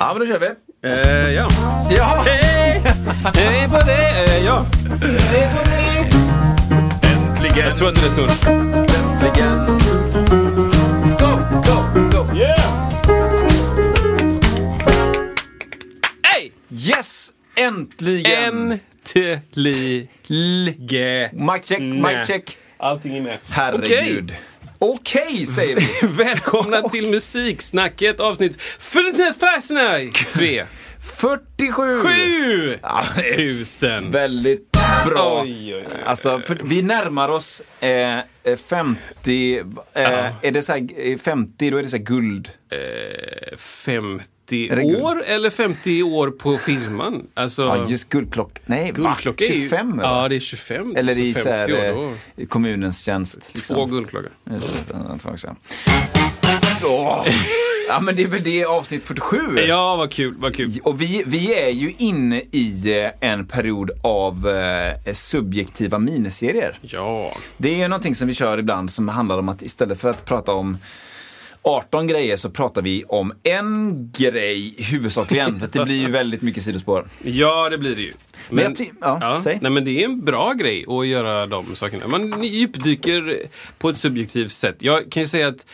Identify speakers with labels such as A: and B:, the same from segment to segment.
A: Ja, men då kör vi.
B: Eh, ja.
A: Ja, hej! Hej på dig! Eh, ja. Hej på dig! Äntligen!
B: Jag tror inte det är tunt.
A: Äntligen! Go, go, go! Yeah! Hey! Yes! Äntligen!
B: Äntligen.
A: mic check, mic check.
C: Allting är med.
A: Herregud. Okej, säger vi.
B: Välkomna till Musiksnacket avsnitt 47
A: 47!
B: tusen.
A: Väldigt bra.
C: Oj, oj, oj.
A: Alltså, för, vi närmar oss eh, eh, 50, eh, är det så här, eh, 50 då är det så här guld.
B: 50
A: Är det guld?
B: år eller 50 år på firman? Alltså,
A: Ja, just guldklock. Nej,
B: guldklocka
A: va?
B: är ju...
A: 25 eller?
B: Ja, det är 25.
A: Eller
B: så
A: i så här,
B: 50 år,
A: eh,
B: då.
A: i kommunens tjänst. liksom.
B: Två guldklockor.
A: Just det, jag tror också. Så! Ja men det är väl det avsnitt 47?
B: Ja, vad kul, vad kul.
A: Och vi, vi är ju inne i eh, en period av eh, subjektiva miniserier.
B: Ja.
A: Det är ju någonting som vi kör ibland som handlar om att istället för att prata om 18 grejer så pratar vi om en grej huvudsakligen. För att det blir ju väldigt mycket sidospår.
B: Ja, det blir det ju.
A: Men jag ty- ja, säg.
B: Nej, men det är en bra grej att göra de sakerna. Man djupdyker på ett subjektivt sätt. Jag kan ju säga att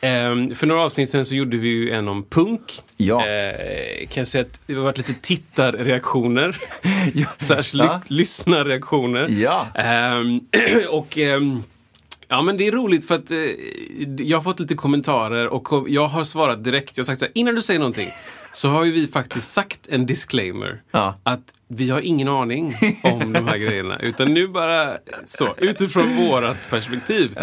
B: ehm, för några avsnitt sen så gjorde vi ju en om punk.
A: Ja.
B: Eh, kan jag säga att det har varit lite tittarreaktioner.
A: Ja.
B: Särskilt
A: Ja.
B: lyssnarreaktioner.
A: Ja.
B: Ehm, och ehm, Ja men det är roligt för att eh, jag har fått lite kommentarer och kom- jag har svarat direkt. Jag har sagt så här, innan du säger någonting så har ju vi faktiskt sagt en disclaimer.
A: Ja.
B: Att vi har ingen aning om de här grejerna. Utan nu bara så, utifrån vårat perspektiv.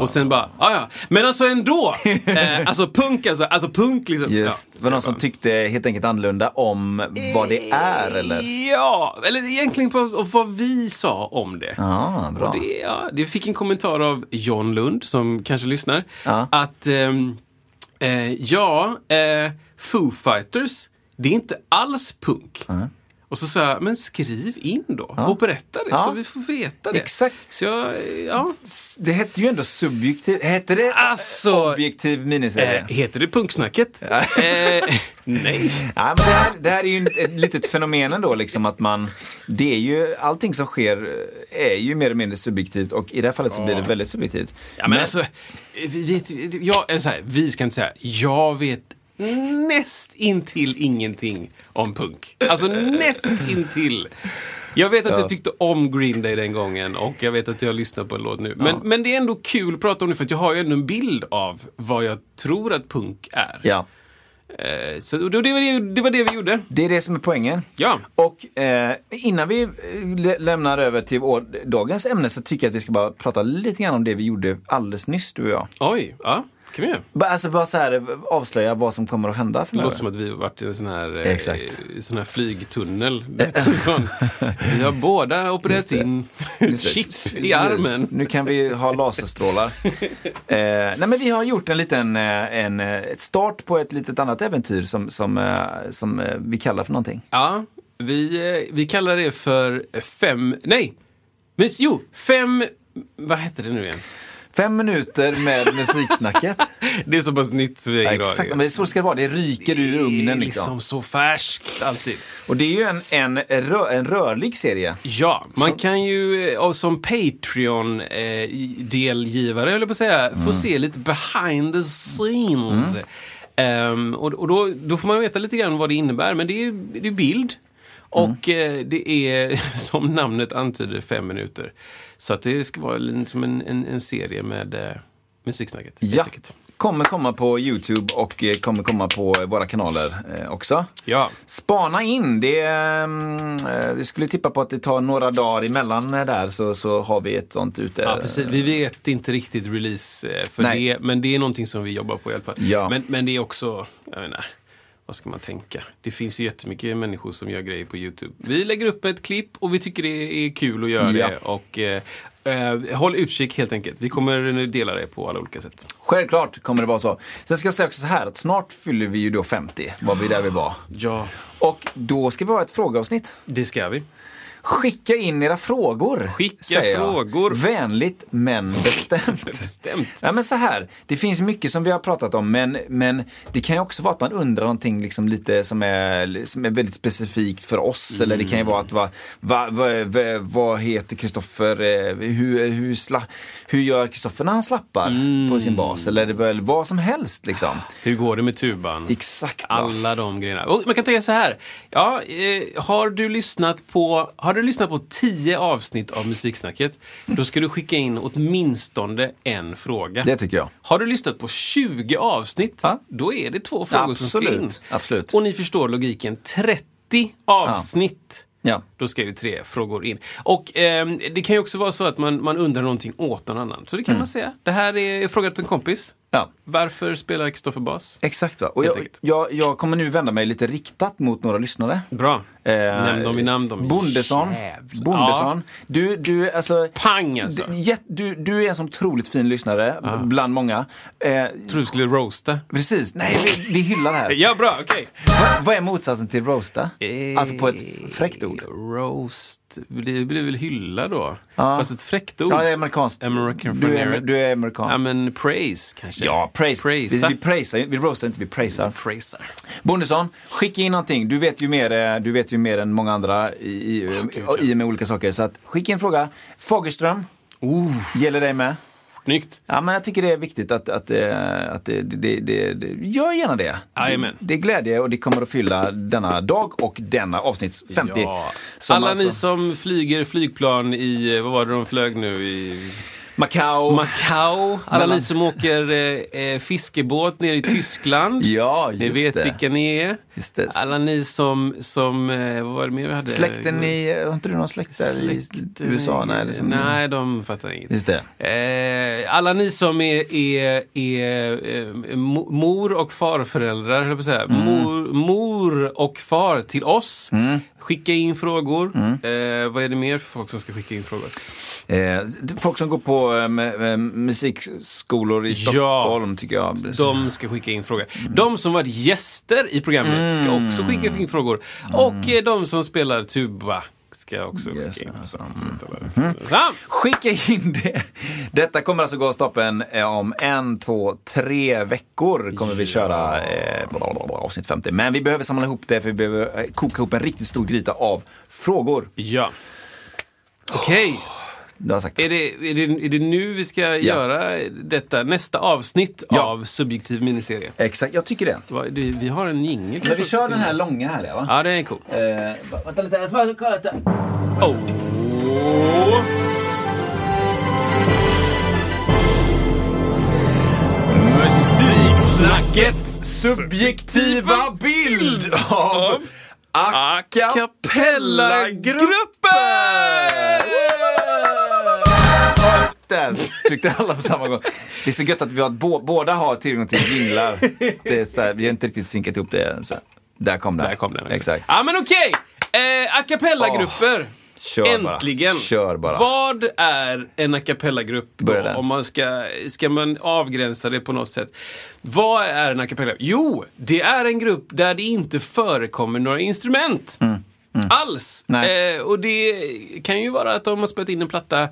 B: Och sen bara, ja ja. Men alltså ändå! Eh, alltså punk alltså, alltså punk liksom.
A: Just,
B: Ja,
A: var det någon
B: så jag
A: som
B: bara,
A: tyckte helt enkelt annorlunda om vad det är eller?
B: Ja, eller egentligen på på vad vi sa om det.
A: Ja, bra.
B: Och det, ja, det fick en kommentar av John Lund, som kanske lyssnar.
A: Ja.
B: Att, ehm, eh, ja, eh, Foo Fighters, det är inte alls punk. Och så sa jag, men skriv in då och berätta det
A: Ja.
B: så vi får veta det.
A: Exakt.
B: Så jag, eh, ja.
A: Det hette ju ändå subjektiv, hette det
B: Alltså,
A: objektiv miniserie?
B: eh, heter det punksnacket? eh, nej.
A: Ja, men det, här, det här är ju ett, ett litet fenomen ändå, liksom att man, det är ju, allting som sker eh, är ju mer eller mindre subjektivt och i det här fallet så blir det väldigt subjektivt.
B: Ja, men, alltså, vi, vet, jag, eller så här, vi ska inte säga, jag vet näst intill ingenting om punk. Alltså näst intill. Jag vet att jag tyckte om Green Day den gången och jag vet att jag lyssnar på en låt nu. Men, men det är ändå kul att prata om det för att jag har ju ändå en bild av vad jag tror att punk är.
A: Ja,
B: Eh, Så, och det, det, var det, det var det vi gjorde.
A: det är det som är poängen.
B: Ja.
A: Och eh, innan vi eh, lä- lämnar över till vår, dagens ämne så tycker jag att vi ska bara prata lite grann om det vi gjorde alldeles nyss, du och jag.
B: Oj, ja, kan vi göra.
A: Bara- Alltså bara så här eh, avslöja vad som kommer att hända
B: Det
A: framöver.
B: låter som att vi har varit i en sån här, eh,
A: Exakt.
B: sån här flygtunnel. Du vet, en sån. Vi har båda opererat in chips i armen.
A: Nu kan vi ha laserstrålar. eh, nej men vi har gjort en liten eh, en, eh, ett start på ett litet annat äventyr som, som, eh, som eh, vi kallar för någonting.
B: Ja, vi, eh, vi kallar det för fem... Nej! Men, jo, fem... Vad hette det nu igen?
A: Fem minuter med musiksnacket.
B: Det är så pass nytt så vi
A: ja,
B: har
A: exakt, men så ska det vara. Det ryker ur ugnen liksom.
B: liksom så färskt alltid.
A: Och det är ju en, en, rö, en rörlig serie.
B: Ja, man kan ju eh, och som Patreon-delgivare, höll jag på att säga, få se lite behind the scenes. Ehm, och och då, då får man veta lite grann vad det innebär, men det är, det är bild. Och eh, det är, som namnet antyder, fem minuter. Så att det ska vara lite som en, en, en serie med eh, musiksnacket. helt
A: Ja,
B: enkelt.
A: Kommer komma på YouTube och eh, kommer komma på våra kanaler eh, också.
B: Ja.
A: Spana in! Det, mm, eh, vi skulle tippa på att det tar några dagar emellan eh, där så, så har vi ett sånt ute.
B: Ja, precis. Vi vet inte riktigt release eh, för
A: Eh, Nej.
B: det, men det är någonting som vi jobbar på i alla fall.
A: Ja.
B: Men, men det är också, jag menar, vad ska man tänka? Det finns ju jättemycket människor som gör grejer på YouTube. Vi lägger upp ett klipp och vi tycker det är kul att göra
A: Ja.
B: det. Och, eh, eh, håll utkik helt enkelt. Vi kommer nu dela det på alla olika sätt.
A: Självklart kommer det vara så. Sen ska jag säga också så här att snart fyller vi ju då 50, var vi där vi var.
B: Ja,
A: Och då ska vi ha ett frågeavsnitt.
B: det ska vi.
A: Skicka in era frågor.
B: Skicka
A: säger jag.
B: frågor.
A: Vänligt men bestämt.
B: Bestämt.
A: Ja, men så här, det finns mycket som vi har pratat om men, men det kan ju också vara att man undrar någonting liksom lite som, är, som är väldigt specifikt för oss.
B: Mm.
A: Eller det kan ju vara att vad va, va, va, vad heter Kristoffer, eh, hur, hur, sla, hur gör Kristoffer när han slappar på
B: Mm.
A: sin bas? Eller det är väl vad som helst liksom.
B: Hur går det med tuban?
A: Exakt. va?
B: Alla de grejerna. Och man kan tänka så här. Ja, eh, har, du lyssnat på, har du lyssnat på tio avsnitt av Musiksnacket, då ska du skicka in åtminstone en fråga.
A: Det tycker jag.
B: Har du lyssnat på 20 avsnitt,
A: Ja.
B: då är det två frågor som ska in.
A: Absolut, absolut.
B: Och ni förstår logiken. 30 avsnitt.
A: Ja.
B: Då ska ju tre frågor in. Och ehm, det kan ju också vara så att man, man undrar någonting åt någon annan. Så det kan man säga. Det här är frågat till en kompis.
A: Mm. Ja.
B: Varför spelar Kristoffer bas?
A: Exakt. Va? Och
B: Helt
A: jag,
B: enkelt.
A: jag, jag kommer nu vända mig lite riktat mot några lyssnare.
B: Bra.
A: Eh,
B: Nämn dem i namn. De
A: Bondesson.
B: Jävlar.
A: Bondesson. Du, du, alltså...
B: Ja. Pang alltså!
A: Du, jätt- du, du är en sån otroligt fin lyssnare, b- bland många. Eh,
B: Tror du skulle roasta?
A: precis, nej vi, vi hyllar det här.
B: Ja, Eh, bra, okej.
A: Va, vad är motsatsen till roasta? Alltså på ett f- fräckt ord.
B: Roast. Det blir väl hylla då?
A: Ja.
B: Fast ett fräckt ord.
A: Ja, det är amerikanskt.
B: American
A: du, är,
B: Fanera.
A: du är amerikan.
B: Ja, men praise kanske?
A: Ja, praise.
B: Praisa.
A: Vi, vi praisar, ju- vi roastar inte, vi praisar.
B: Praisar.
A: Bondesson, skicka in någonting. Du vet ju mer, eh, du vet ju mer än många andra i, i, eh, i och med olika saker. Så att, skicka in fråga. Fagerström, gäller dig med?
B: Snyggt.
A: Ja, men jag tycker det är viktigt att, att, eh, att det, det, det, det, gör gärna det.
B: Jajamän.
A: Det, det är glädje och det kommer att fylla denna dag och denna avsnitt 50.
B: Ja.
A: Som
B: Alla
A: alltså-
B: ni som flyger flygplan i, eh, vad var det de flög nu i?
A: Macau.
B: Macau. Alla
A: Mellan-
B: ni som åker eh, eh, fiskebåt nere i Tyskland.
A: Ja,
B: Ni
A: just
B: vet
A: det.
B: vilka ni är.
A: Just det.
B: Alla ni som, som eh, vad var det mer vi hade?
A: Släkten i, har inte du någon släkt där
B: Släkten
A: i USA? Nej, det är som-
B: eh, nej, de fattar inget.
A: Just det.
B: Eh, alla ni som är, är, är eh, mo- mor och farföräldrar, höll jag på att säga.
A: Mm.
B: Mor, mor och far till oss. Skicka in frågor.
A: Mm.
B: Eh, vad är det mer för folk som ska skicka in frågor?
A: Eh, folk som går på em, em, musikskolor i
B: Ja.
A: Stockholm tycker jag.
B: De ska skicka in frågor.
A: Mm.
B: De som varit gäster i programmet ska också skicka in frågor.
A: Mm.
B: Och eh, de som spelar tuba ska också skicka
A: Yes,
B: in
A: alltså.
B: frågor. Ja.
A: Skicka in det! Detta kommer alltså gå av stapeln eh, om en, två, tre veckor kommer vi köra eh, bla, bla, bla, avsnitt 50. Men vi behöver samla ihop det för vi behöver eh, koka ihop en riktigt stor gryta av frågor.
B: Ja. Okej,
A: Du har sagt
B: är,
A: det.
B: det, är, det, är det nu vi ska göra detta? Nästa avsnitt
A: Ja.
B: av Subjektiv miniserie.
A: Exakt, jag tycker det.
B: Vad- det- Vi har en jingel.
A: Men vi kör den här långa här ja, va?
B: Ja, den är cool.
A: Eh, va- vänta lite, jag ska bara kolla lite. Eh.
B: Oh.
A: Musiksnackets subjektiva bild av a cappella-gruppen! Där tryckte alla på samma gång. Det är så gött att vi har, bå, båda har tillgång till jinglar. Det är så här, vi har inte riktigt synkat ihop det. än, Så här. Där kom den.
B: Där kom den.
A: Exakt.
B: Ja, men okej! Eh, a cappella-grupper.
A: Kör bara.
B: Äntligen!
A: Kör bara.
B: Vad är en a cappella-grupp? då?
A: Börja där.
B: Om man ska, ska man avgränsa det på något sätt. Vad är en a cappella-grupp? Jo, det är en grupp där det inte förekommer några instrument. Alls!
A: Nej.
B: Eh, och det kan ju vara att de har spelat in en platta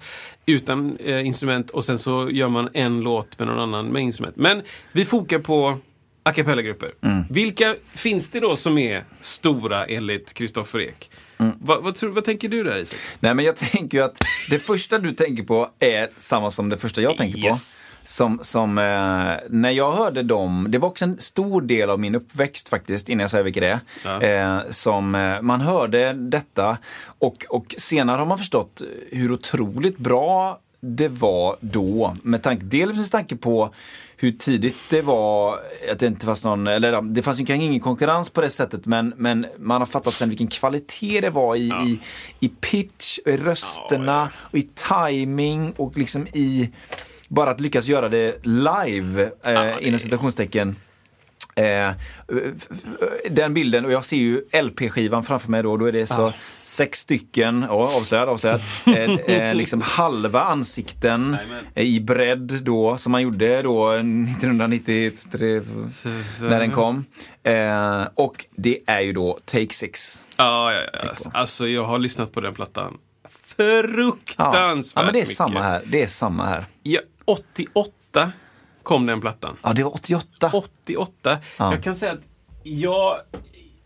B: utan eh, instrument och sen så gör man en låt med någon annan med instrument. Men vi fokar på a cappella-grupper. Vilka finns det då som är stora enligt Kristoffer Ek? Vad- vad, tror, vad tänker du där Isak?
A: Nej men jag tänker ju att det första du tänker på är samma som det första jag tänker
B: Yes.
A: på. Som, som eh, när jag hörde dem, det var också en stor del av min uppväxt faktiskt, innan jag säger vilka det är.
B: Ja.
A: Eh, som eh, man hörde detta och, och senare har man förstått hur otroligt bra det var då. Med tanke, dels med tanke på hur tidigt det var, att det inte fanns någon, eller ja, det fanns ju kanske ingen konkurrens på det sättet men, men man har fattat sen vilken kvalitet det var i, i, i pitch, och i rösterna, och i timing och liksom i bara att lyckas göra det live, eh, inom citationstecken. Eh, den bilden, och jag ser ju LP-skivan framför mig då, då är det så sex stycken, ja avslöjad, avslöjad, eh, eh, liksom halva ansikten eh, i bredd då, som man gjorde då 1993 när den kom. Eh, och det är ju då Take Six.
B: Ja, ja, ja. Alltså, jag har lyssnat på den plattan. Fruktansvärt
A: ja, men det är
B: mycket.
A: samma här. Det är samma här.
B: Ja, 88 kom den plattan.
A: Ja, det var 88.
B: 88.
A: Ja.
B: Jag kan säga att jag,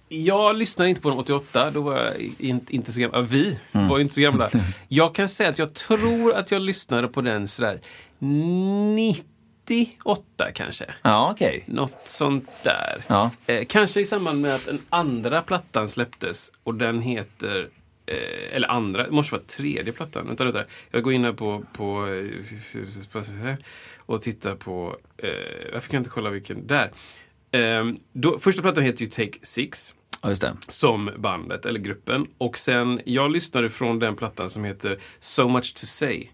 B: jag lyssnade inte på den 88. Då var jag in, inte så gammal. Vi
A: Mm.
B: var ju inte så gamla. Jag kan säga att jag tror att jag lyssnade på den sådär 98 kanske.
A: Ja, okej.
B: Något sånt där.
A: Ja.
B: Eh, kanske i samband med att den andra plattan släpptes och den heter Eh, eller andra, det måste vara tredje plattan. Vänta, vänta. Jag går in här på, på eh, och tittar på... Eh, varför kan jag inte kolla vilken? Där. Eh, då, första plattan heter ju Take Six
A: Ja, just det.
B: som bandet eller gruppen. Och sen, jag lyssnade från den plattan som heter So Much To Say.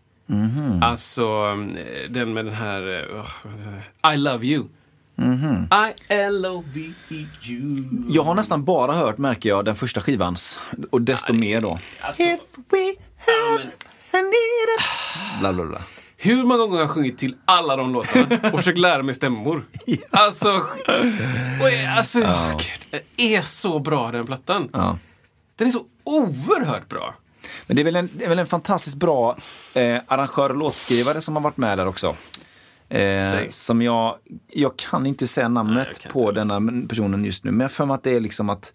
B: Alltså eh, den med den här eh, vad heter det? I Love You. E I-L-O-V-E-U.
A: Jag har nästan bara hört, märker jag, den första skivans. Och desto mer då.
B: Alltså,
A: Bla, bla, bla.
B: hur många gånger har jag sjungit till alla de låtarna och försökt lära mig stämmor? Alltså, oj, alltså oh. gud, den är så bra den plattan.
A: Ja.
B: Den är så oerhört bra.
A: Men det är väl en, det är väl en fantastiskt bra eh, arrangör och låtskrivare som har varit med där också. Eh,
B: Säg.
A: som jag, jag kan inte säga namnet
B: jag kan
A: på denna personen just nu, men jag har för mig att det är liksom att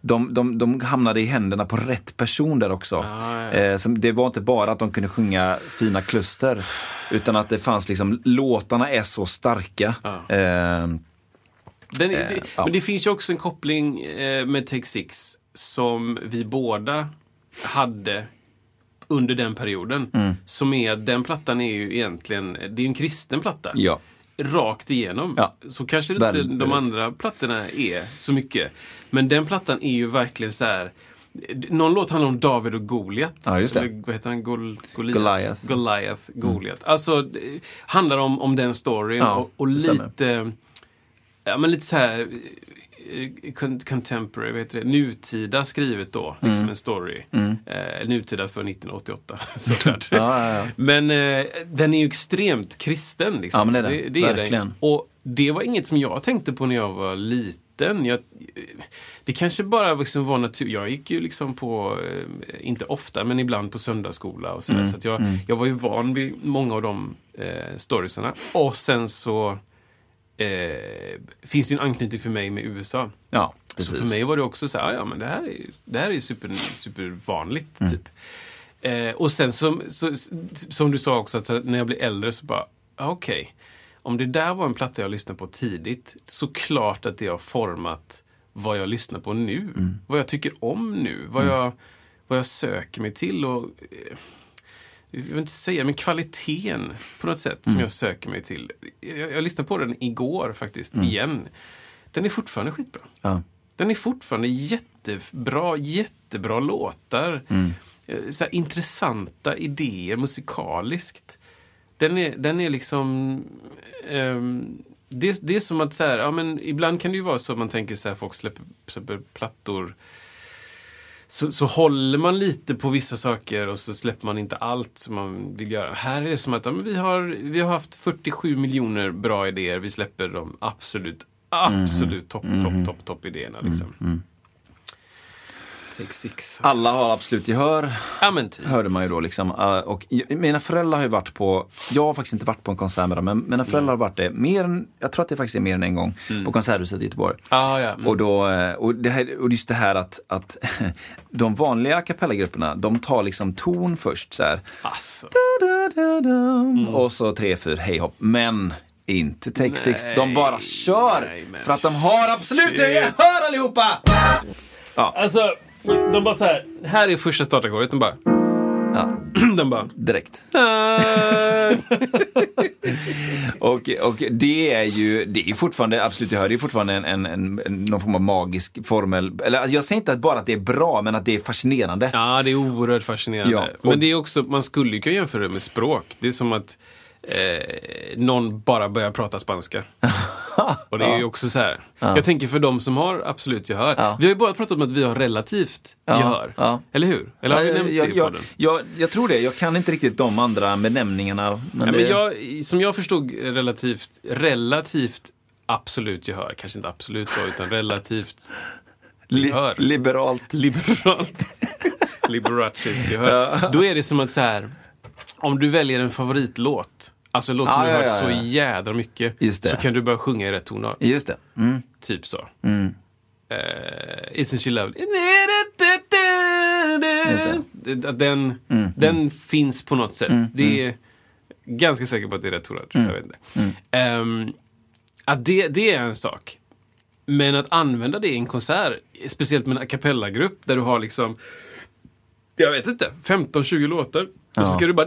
A: de, de, de hamnade i händerna på rätt person där också.
B: Ah, ja.
A: Eh, som, det var inte bara att de kunde sjunga fina kluster, utan att det fanns liksom, låtarna är så starka.
B: Ja.
A: Eh,
B: Den, det,
A: ja.
B: Men det finns ju också en koppling eh, med Take Six som vi båda hade under den perioden.
A: Mm.
B: Som är att den plattan är ju egentligen, det är en kristen platta.
A: ja.
B: Rakt igenom.
A: Ja.
B: Så kanske inte
A: Väldigt.
B: de andra plattorna är så mycket. Men den plattan är ju verkligen så här. Någon låt handlar om David och Goliat.
A: Ja, just det.
B: Eller vad heter han? Gol, Goliat.
A: Goliath. Mm.
B: Goliath, Goliat. Alltså, det handlar om, om den storyn
A: Ja,
B: och, och
A: det stämmer.
B: lite, ja men lite så här eh, con- contemporary, vad heter det, nutida skrivet då,
A: Mm.
B: liksom en story. Eh, nutida för 1988, såklart.
A: Ja, ja, ja.
B: Men eh, den är ju extremt kristen. Liksom.
A: Ja, men det är den.
B: Det, är
A: Verkligen.
B: Den. Och det var inget som jag tänkte på när jag var liten. Jag, det kanske bara liksom var natur. Jag gick ju liksom på, eh, inte ofta, men ibland på söndagsskola och sådär. Så att jag, jag var ju van vid många av de eh, storiesarna. Och sen så eh, finns det ju en anknytning för mig med USA.
A: ja,
B: Så
A: precis.
B: för mig var det också så här, "Ah, ja men det här är ju, det här är ju super, supervanligt. Typ. Eh, och sen som, så, som du sa också, att så, här, när jag blir äldre så bara, ah, okej. Om det där var en platta jag lyssnade på tidigt, så klart att det har format vad jag lyssnar på nu. Vad jag tycker om nu. Vad, jag, vad jag söker mig till. Och, eh, jag vill inte säga, men kvaliteten på något sätt som jag söker mig till. Jag, jag lyssnade på den igår faktiskt, igen. Den är fortfarande skitbra.
A: Ja.
B: Den är fortfarande jättebra, jättebra låtar. Eh, Så här, intressanta idéer musikaliskt. Den är, den är liksom... ehm, det, det är som att så här, ja, men ibland kan det ju vara så att man tänker så här, folk släpper, släpper plattor. Så, så håller man lite på vissa saker och så släpper man inte allt som man vill göra. Här är det som att ja, men vi, har, vi har haft 47 miljoner bra idéer. Vi släpper de absolut, absolut topp, topp, topp, topp idéerna. Liksom. Take six. Alltså.
A: Alla har absolut gehör.
B: Ja, men typ.
A: hörde man ju då. Liksom. Eh, Och j- mina föräldrar har ju varit på, jag har faktiskt inte varit på en konsert med dem, men mina föräldrar har varit det mer än, jag tror att det faktiskt är mer än en gång, på Konserthuset i Göteborg.
B: Mm. Ah, ja. Mm.
A: Och, då, eh, och, det här, och just det här att, att de vanliga a cappella-grupperna, de tar liksom ton först så här. Mm.
B: Alltså. Mm.
A: Och så tre, fyra, hej hopp. Men inte Take Six, de
B: Nej,
A: bara kör!
B: nej, men
A: för att de har absolut
B: shit.
A: gehör allihopa!
B: Alltså, de bara så här. Här är första startackorden. De bara...
A: Ja,
B: Den bara...
A: direkt.
B: "Äh."
A: Och, och det är ju det är ju fortfarande, absolut jag hör, det är fortfarande en, en, en, en- någon form av magisk formel. Eller alltså jag säger inte att bara att det är bra, men att det är fascinerande.
B: Ja, det är oerhört fascinerande.
A: Ja, och-
B: Men det är också, man skulle ju kunna jämföra det med språk. Det är som att eh, någon bara börjar prata spanska. Och det är ju också så här. Jag tänker för de som har absolut gehör.
A: Ja.
B: Vi har ju bara pratat om att vi har relativt
A: Ja,
B: gehör.
A: ja.
B: Eller hur? Eller har vi
A: jag,
B: nämnt
A: jag,
B: det i
A: jag,
B: podden?
A: jag, jag tror det, jag kan inte riktigt de andra benämningarna. Men
B: Nej, men
A: det-
B: jag, som jag förstod relativt, relativt absolut gehör, kanske inte absolut då, utan relativt
A: li,
B: hör.
A: liberalt.
B: liberalt. Liberatis gehör. Då är det som att så här, om du väljer en favoritlåt, alltså en låt som
A: Ja,
B: du har
A: ja,
B: hört
A: ja,
B: så
A: ja.
B: jädra mycket,
A: Just det.
B: så kan du börja sjunga i rätt tonart.
A: Just det. Mm.
B: Typ så. Eh, Isn't she lovely? Just Den, den finns på något sätt. Det är ganska säker på att det är rätt tonart. Jag vet inte. Ehm, att det, det är en sak. Men att använda det i en konsert, speciellt med en a cappella-grupp där du har liksom, jag vet inte, 15-20 låtar. Och så
A: Ja.
B: ska du bara...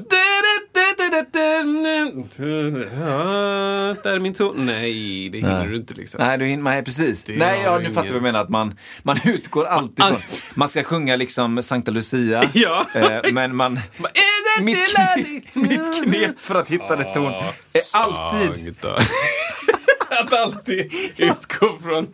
B: Där är min ton. Nej, det hinner
A: Nej.
B: du inte liksom.
A: Nej, du hinner, nej precis.
B: Det
A: nej,
B: har
A: ja,
B: du
A: nu fattar jag
B: ingen-
A: vad jag menar. Att man, man utgår alltid
B: Man-
A: från... Man ska sjunga liksom Sankta Lucia.
B: Ja.
A: eh, men man...
B: Bara, "Är det
A: Mitt,
B: till
A: kne,
B: ärlig?"
A: mitt knep för att hitta rätt ton är alltid...
B: Sagda. att alltid utgå från...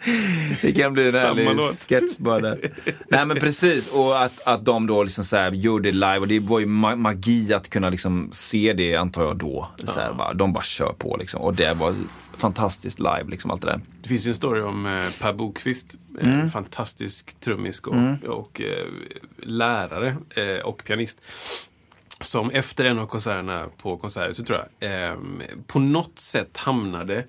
A: Det kan bli en
B: Samma
A: härlig
B: låt.
A: sketch bara där. Nej men precis, och att, att de då liksom så här gjorde det live och det var ju ma- magi att kunna liksom se det antar jag då. Så här, bara, de bara kör på liksom och det var fantastiskt live liksom allt det där.
B: Det finns ju en story om eh, Per Bokvist, eh,
A: Mm.
B: fantastisk trummisk och, och eh, lärare eh, och pianist. Som efter en av konserterna på Konserthuset, tror jag, eh, på något sätt hamnade,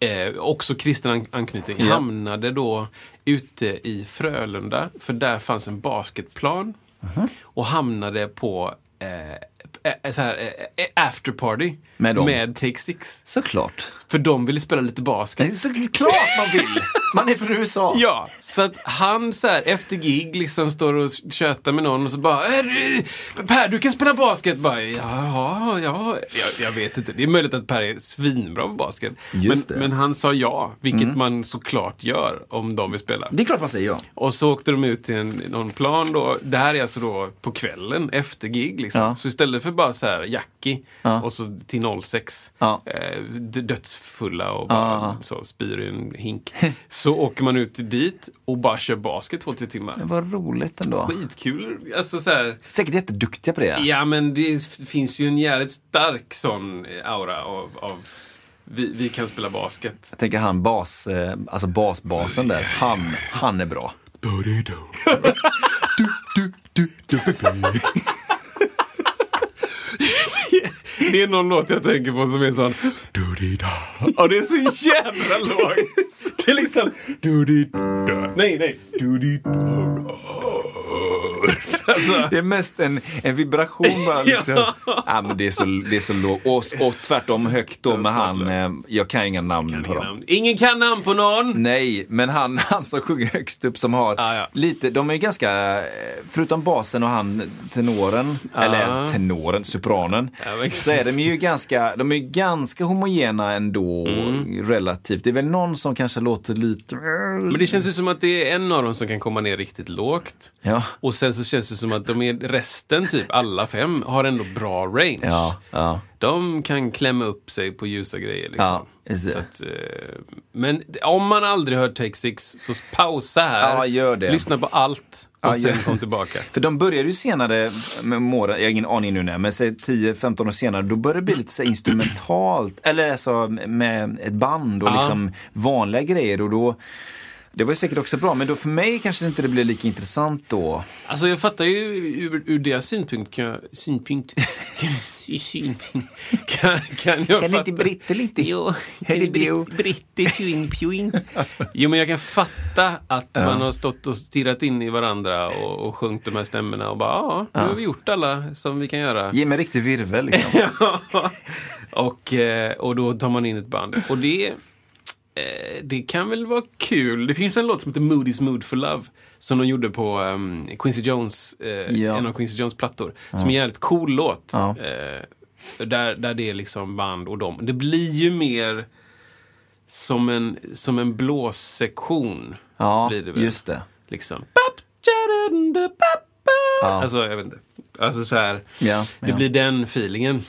B: eh, också kristen an- anknytning,
A: Ja.
B: hamnade då ute i Frölunda, för där fanns en basketplan.
A: Mhm.
B: Och hamnade på eh, eh, så här, eh, eh, afterparty
A: Med dem.
B: med Take Six.
A: Såklart.
B: För de ville spela lite basket.
A: Såklart man vill! Man är från USA.
B: Ja, så att han så här efter gig liksom står och tjötar med någon och så bara "Är du- Per, du kan spela basket. Bara, Jaha, ja, jag, jag vet inte. Det är möjligt att Per är svinbra på basket.
A: Just
B: men,
A: det. Mm.
B: men han sa ja, vilket man såklart gör om de vill spela.
A: Det är klart man säger ja.
B: Och så åkte de ut till en, någon plan då. Det här är alltså då på kvällen efter gig. Liksom.
A: Ja.
B: Så istället för bara så här Jackie och så till 06.
A: Ja.
B: Eh, d- dödsfulla och bara så spyr i en hink. så åker man ut dit och bara kör basket två, tre timmar.
A: Vad roligt ändå.
B: Skitkul. Alltså så här.
A: Säkert jätteduktiga på det.
B: Ja men det f- finns ju en jävligt stark sån eh, aura av, av vi, vi kan spela basket.
A: Jag tänker han bas, eh, alltså basbasen där, han, han är bra.
B: Det är någon låt jag tänker på som är sån. Ja, det är så jävla lågt. Det är liksom... Nej, nej. Alltså.
A: Det är mest en, en vibration bara liksom. ja. men det är så, det är så lågt. Och, och tvärtom högt då med han, eh, jag kan ju inga namn på dem.
B: Ingen kan namn på någon.
A: Nej, men han, han som sjunger högst upp som har
B: Ja, ja.
A: lite, de är ju ganska, eh, förutom basen och han tenoren, eller tenoren, sopranen,
B: Ja, men exakt.
A: så är de ju ganska, de är ju ganska homogena ändå relativt. Det är väl någon som kanske låter lite...
B: Mm. Men det känns ju som att det är en av dem som kan komma ner riktigt lågt.
A: Ja.
B: Och sen så känns det som att de är, resten, typ alla fem, har ändå bra range.
A: Ja, ja.
B: De kan klämma upp sig på ljusa grejer. Liksom.
A: Ja, just det.
B: så att, eh, men om man aldrig hört Take Six, så pausa här.
A: Ja, gör det.
B: Lyssna på allt och
A: Ja,
B: sen
A: gör-
B: kom tillbaka.
A: För de började ju senare med åren, jag har ingen aning nu när, men säg 10-15 år senare, då började det bli lite så här instrumentalt, eller alltså med ett band och
B: Ja.
A: liksom vanliga grejer och då det var ju säkert också bra, men då för mig kanske inte det blev lika intressant då.
B: Alltså jag fattar ju ur, ur deras synpunkt kan jag... Synpunkt? I synpunkt? Kan, kan jag
A: inte
B: fatta...
A: britter lite?
B: Jo,
A: Här är bio.
B: brittig synpunkt? Jo, men jag kan fatta att man har stått och stirrat in i varandra och, och sjungit de här stämmorna och bara ja, nu har vi gjort alla som vi kan göra.
A: Ge mig en riktig virvel liksom.
B: och, eh, och då tar man in ett band. Och det... eh, eh, det kan väl vara kul. Det finns en låt som heter Moody's Mood for Love som de gjorde på ehm, Quincy Jones, eh,
A: Ja.
B: en av Quincy Jones plattor. Som är en jävligt cool låt.
A: Ja.
B: Eh, där, där det är liksom band och dem. Det blir ju mer som en, som en blåssektion.
A: Ja,
B: blir det väl.
A: just det.
B: Liksom. Bap, tjadadunda, bap, bap.
A: Ja.
B: Alltså, jag vet inte. Alltså så här.
A: Ja,
B: det
A: ja.
B: blir den feelingen.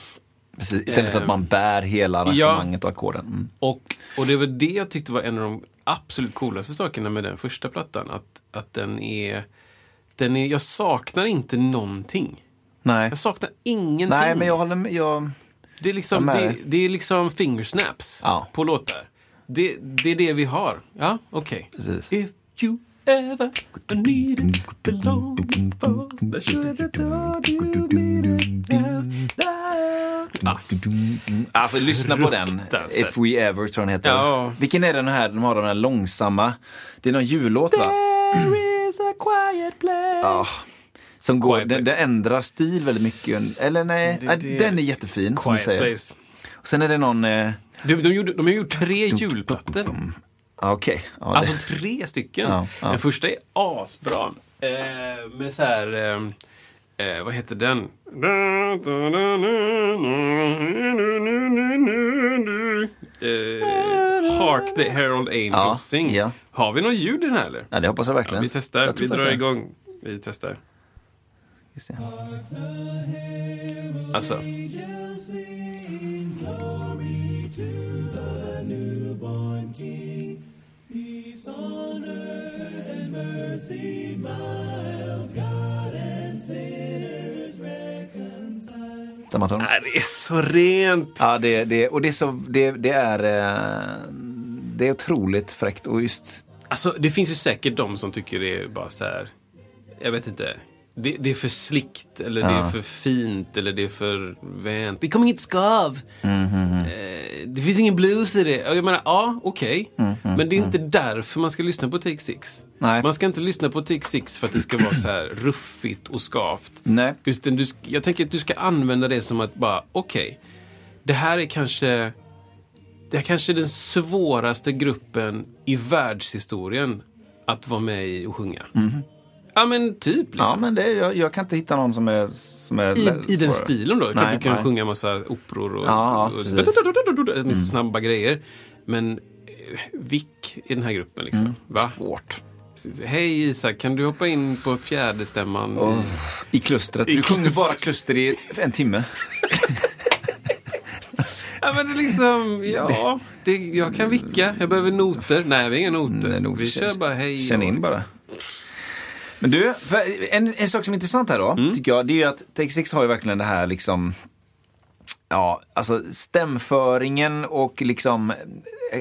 A: Precis, istället för att man bär hela arrangemanget och ackorden. Mm.
B: Och, och det var det jag tyckte var en av de absolut coolaste sakerna med den första plattan. Att, att den, är, den är... Jag saknar inte någonting.
A: Nej.
B: Jag saknar ingenting.
A: Nej, men jag håller med. Jag...
B: Det är liksom,
A: Jag med
B: det,
A: dig.
B: det är liksom fingersnaps
A: Ja.
B: på låtar. Det, det är det vi har. Ja, okej.
A: Precis.
B: If you ever need it, the long for the should have told you need it now. Ja,
A: Alltså lyssna på den.
B: Fruktansvärt.
A: If we ever tror jag den heter.
B: Ja.
A: Vilken är den här? De har den här långsamma. Det är någon jullåt va?
B: There is a quiet place.
A: Ja. Som går,
B: Quiet
A: den, den ändrar stil väldigt mycket. Eller nej,
B: Det- det-
A: den är jättefin som du
B: Quiet
A: säger.
B: place.
A: Sen är det någon... Eh,
B: De, de, gjorde, de har gjort tre julplattor.
A: ah, Okej. Ja, det-
B: Alltså tre stycken.
A: Ja, ja.
B: Den första är asbra. Eh, med så här... Eh, eh, vad heter den? Eh, Hark the Herald Angels
A: Ja,
B: Sing.
A: ja.
B: Har vi någon ljud i den här eller?
A: ja, det hoppas jag verkligen.
B: Vi testar,
A: Jag tror
B: vi drar
A: faktiskt det.
B: igång. Vi testar.
A: Ska se.
B: Alltså.
A: Samma ton.
B: Nej, det är så rent!
A: Ja, det, det, och det är, så, det, det är eh, det är otroligt fräckt och just
B: Alltså, det finns ju säkert de som tycker det är bara så här... Jag vet inte. Det, det är för slickt, eller det är för fint, eller det är för vänt. Det kommer inget skav.
A: Mm-hmm.
B: Eh, det finns ingen blues i det. Jag menar, ja, okej. Men det är inte därför man ska lyssna på Take Six.
A: Mm-hmm. Nej.
B: Man ska inte lyssna på Take Six för att det ska vara så här ruffigt och skavt.
A: Nej.
B: Utan du, sk- jag tänker att du ska använda det som att bara, okej. det här är kanske... Det här kanske är den svåraste gruppen i världshistorien att vara med i och sjunga. Ja men typ liksom.
A: Ja, men det, jag, jag kan inte hitta någon som är... Som är
B: I, I den
A: svårare.
B: stilen då. Klart
A: Nej,
B: du kan
A: nej.
B: sjunga en massa operor och,
A: Ja, ja,
B: och,
A: precis.
B: med snabba grejer. Men eh, vick i den här gruppen liksom. Va?
A: Svårt.
B: Hej Isak, kan du hoppa in på fjärdestämman? i-
A: I klustret.
B: I
A: du sjunger
B: klus-
A: bara kluster i ett- en timme.
B: Ja, men det är liksom, ja, det, jag kan vicka. Jag behöver noter. Nej, vi har inga noter.
A: Nej, nog-
B: vi kör bara hej.
A: Mm, Känn
B: och
A: in
B: liksom.
A: bara. Men du, för en, en sak som är intressant här då,
B: Mm.
A: tycker jag, det är ju att Take Six har ju verkligen det här liksom, ja, alltså stämföringen och liksom, eh,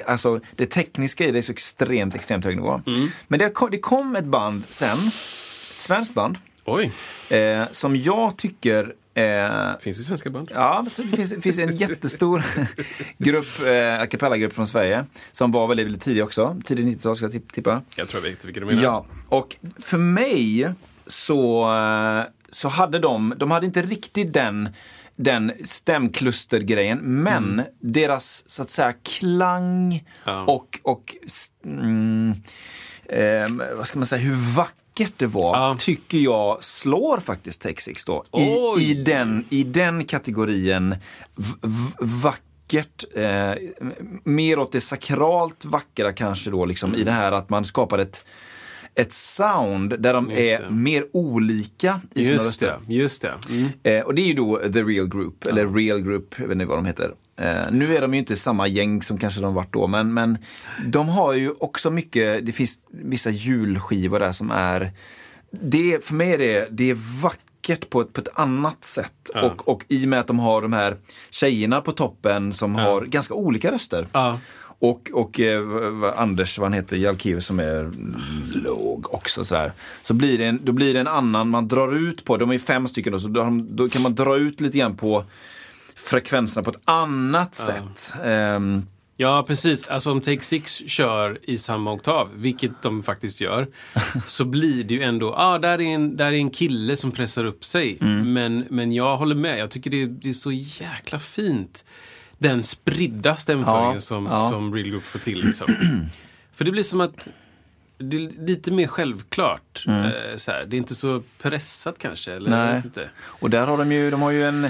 A: alltså det tekniska i det är så extremt, extremt hög nivå.
B: Mm.
A: Men det kom, det kom ett band sen, ett svenskt band,
B: Oj,
A: eh, som jag tycker eh,
B: finns det svenska band?
A: Ja, så det finns, det finns en jättestor grupp, eh, a cappella-grupp från Sverige som var väldigt, väldigt tidig också. Tidigt 90-tal ska jag tipp- tippa.
B: Jag tror jag vet vilka du menar.
A: Ja, och för mig så, eh, så hade de, de hade inte riktigt den, den stämklustergrejen, men deras så att säga klang
B: Mm. Ja.
A: och, och s- mm, ehm, vad ska man säga, hur vackert det var,
B: Ja.
A: tycker jag slår faktiskt Texix då. I,
B: Oj.
A: i, den, I den kategorin v- v- vackert, eh, m- mer åt det sakralt vackra kanske då liksom i det här att man skapar ett ett sound där de
B: Just
A: är
B: det.
A: mer olika i sina
B: Just
A: röster.
B: det, just det. Mm.
A: Eh, och det är ju då The Real Group, eller Real Group, jag vet inte vad de heter. Eh, nu är de ju inte samma gäng som kanske de varit då, men, men de har ju också mycket, det finns vissa julskivor där som är, det, är- för mig är det, det är vackert på ett, på ett annat sätt. Och, och i och med att de har de här tjejerna på toppen som har ganska olika röster.
B: Ja.
A: Och, och eh, v- v- Anders, vad han heter, Jalkeus som är låg också sådär. Så blir det, en, då blir det en annan, man drar ut på, de är ju fem stycken då, så då, har de- då kan man dra ut lite grann på frekvenserna på ett annat sätt. Ehm,
B: Ja, precis. Alltså om Take Six kör i samma oktav, vilket de faktiskt gör, så blir det ju ändå, ah, där, är en, där är en kille som
A: Mm.
B: pressar upp sig. Men, men jag håller med, jag tycker det, det är så jäkla fint. den spridda stämföringen
A: Ja,
B: som,
A: ja.
B: som Real Group får till. Liksom. För det blir som att det är lite mer självklart. Eh, så här. Det är inte så pressat kanske. Eller, jag
A: Mm. Nej.
B: vet inte.
A: Och där har de ju, de har ju en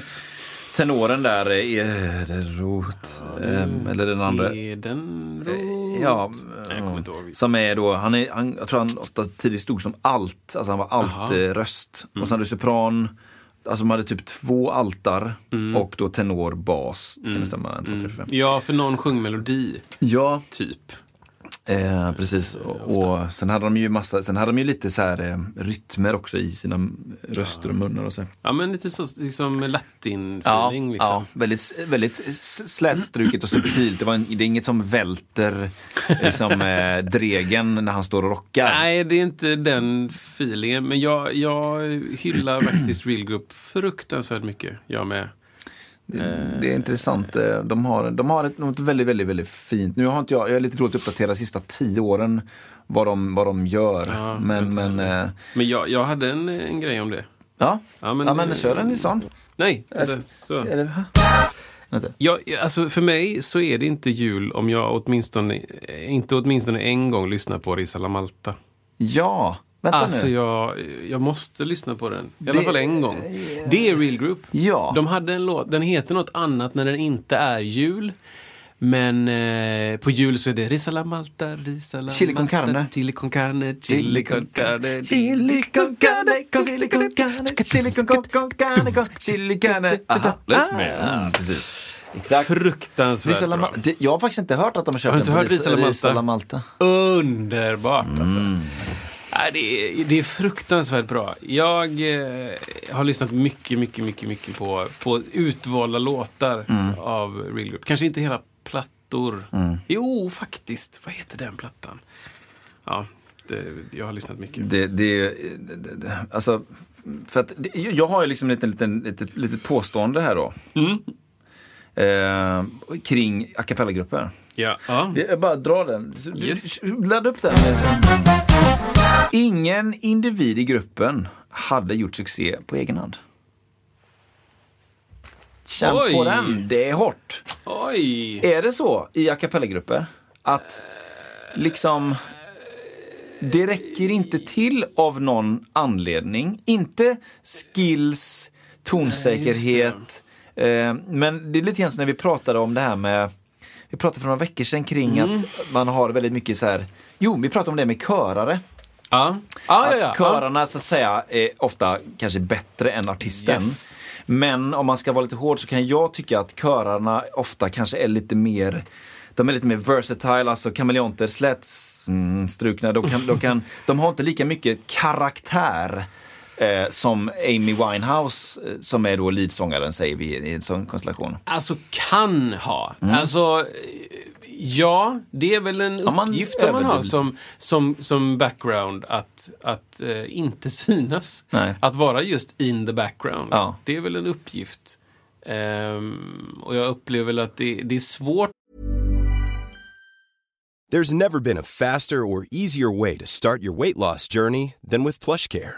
A: tenoren där, eh, Edenroth, ehm, eller den andra. Eh,
B: Edenroth?
A: Ja, eh,
B: Nej, jag kommer inte ihåg.
A: som är då, han är, han, jag tror han ofta tidigt stod som alt, alltså han var
B: Aha. Mm.
A: alt-röst. Och sen hade sopran, alltså de hade typ två altar
B: Mm.
A: och då tenor, bas. Kan det stämma? En, två, tre, fyra, fem.
B: Ja, för någon sjöng melodi,
A: Ja,
B: typ.
A: Eh, precis. Och, och sen hade de ju massa, sen hade de ju lite så här eh, rytmer också i sina röster och munnar och så.
B: Ja, men lite så liksom latin-feeling.
A: Ja,
B: liksom.
A: ja, väldigt, väldigt s- slätstruket och subtilt. Det, var en, det är inget som välter liksom, eh, Dregen när han står och rockar.
B: Nej, det är inte den feelingen. Men jag, jag hyllar faktiskt Real Group fruktansvärt mycket. Jag med.
A: Det, det är intressant. Eh, De har, de har ett, något väldigt, väldigt, väldigt fint. Nu har inte jag, jag är lite dåligt uppdaterad de sista tio åren vad de, vad de gör.
B: Ja,
A: men, men, eh,
B: Men jag, jag hade en, en grej om det.
A: ja.
B: Ja,
A: ja,
B: men-
A: men, ja, men Sören Nilsson.
B: Nej,
A: Alltså,
B: vänta, så.
A: Eller, va? Vänta.
B: Jag, alltså för mig så är det inte jul om jag åtminstone, eh, inte åtminstone en gång lyssnar på Risala Malta.
A: Ja, vänta
B: Alltså
A: nu.
B: jag, jag måste lyssna på den. I alla
A: Det-
B: fall en gång. Det är Real Group.
A: Ja.
B: De hade en låt, den heter något annat när den inte är jul. Men eh, på jul så är det Risala Malta, Risala
A: Chili con
B: Malta,
A: carne.
B: Chili con carne, Chili con carne.
A: Chili con carne, con chili con carne, chili con con- con carne, con chili carne. Aha, lätt med. Mm, precis. Exakt.
B: Ah. Fruktansvärt
A: Risala
B: bra.
A: Malta. Det- Jag har faktiskt inte hört att de har köpt
B: Har du inte
A: den på
B: hört Risala Malta?
A: Risala Malta.
B: Underbart alltså. Nej, det, är, det är fruktansvärt bra. Jag eh, har lyssnat mycket, mycket, mycket, mycket på, på utvalda låtar av Real Group. Kanske inte hela plattor. Jo, faktiskt. Vad heter den plattan? Ja, det, jag har lyssnat mycket.
A: Det, det, det, det- alltså, för att, det- jag har ju liksom ett liten, liten, litet, litet påstående här då.
B: Mm.
A: Eh, kring a cappella-grupper.
B: Ja. Ja.
A: Jag bara drar den. Så du-
B: Mm. Yes.
A: Ladda upp den. Ingen individ i gruppen hade gjort succé på egen hand. Känn
B: Oj.
A: på den. Det är hårt.
B: Oj!
A: Är det så i a cappella-grupper att liksom det räcker inte till av någon anledning. Inte skills, tonsäkerhet. Eh, men det är lite grann som när vi pratade om det här med, vi pratade för några veckor sedan kring att man har väldigt mycket så här, jo vi pratade om det med körare.
B: Ja, ja, ja. ja.
A: Att körarna så att säga är ofta kanske bättre än artisten.
B: Yes.
A: Men om man ska vara lite hård så kan jag tycka att körarna ofta kanske är lite mer de är lite mer versatile, alltså kameleonter, slätstrukna. De, kan, de, kan, de har inte lika mycket karaktär eh, som Amy Winehouse, eh, som är då leadsångaren, säger vi i en sån konstellation.
B: Alltså kan ha. Alltså, eh, ja, det är väl en
A: Mm. Ja, man
B: uppgift som man har
A: överdriver
B: som, som, som background att, att eh, inte synas.
A: Nej.
B: Att vara just in the background.
A: Ja.
B: Det är väl en uppgift. Ehm, och jag upplever väl att det, det är svårt
C: There's never been a faster or easier way to start your weight loss journey than with PlushCare.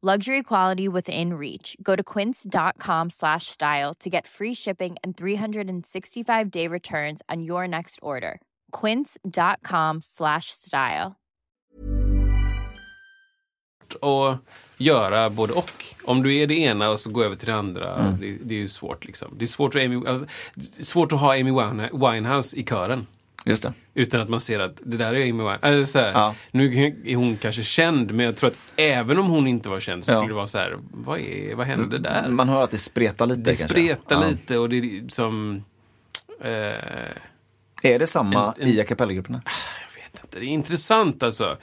D: Luxury quality within reach. Go to quince.com slash style to get free shipping and 365 day returns on your next order. Quince.com slash style.
B: att göra både och. Om du är det ena och så går över till det andra,
A: Mm.
B: det, det är ju svårt. Liksom. Det är svårt att, Amy, alltså, det är svårt att ha Amy Wine- Winehouse i kören.
A: Just det.
B: Utan att man ser att det där är Amy Winehouse. Alltså, så här,
A: Ja.
B: Nu är hon kanske känd, men jag tror att även om hon inte var känd så
A: Ja.
B: skulle det vara så här, vad, är, vad hände där?
A: Man hör att det spretar lite
B: det
A: kanske.
B: spretar
A: Ja.
B: lite och det är som... Eh, jag
A: Är det samma
B: En- en-
A: i a cappella-grupperna?
B: vet inte, det är intressant alltså.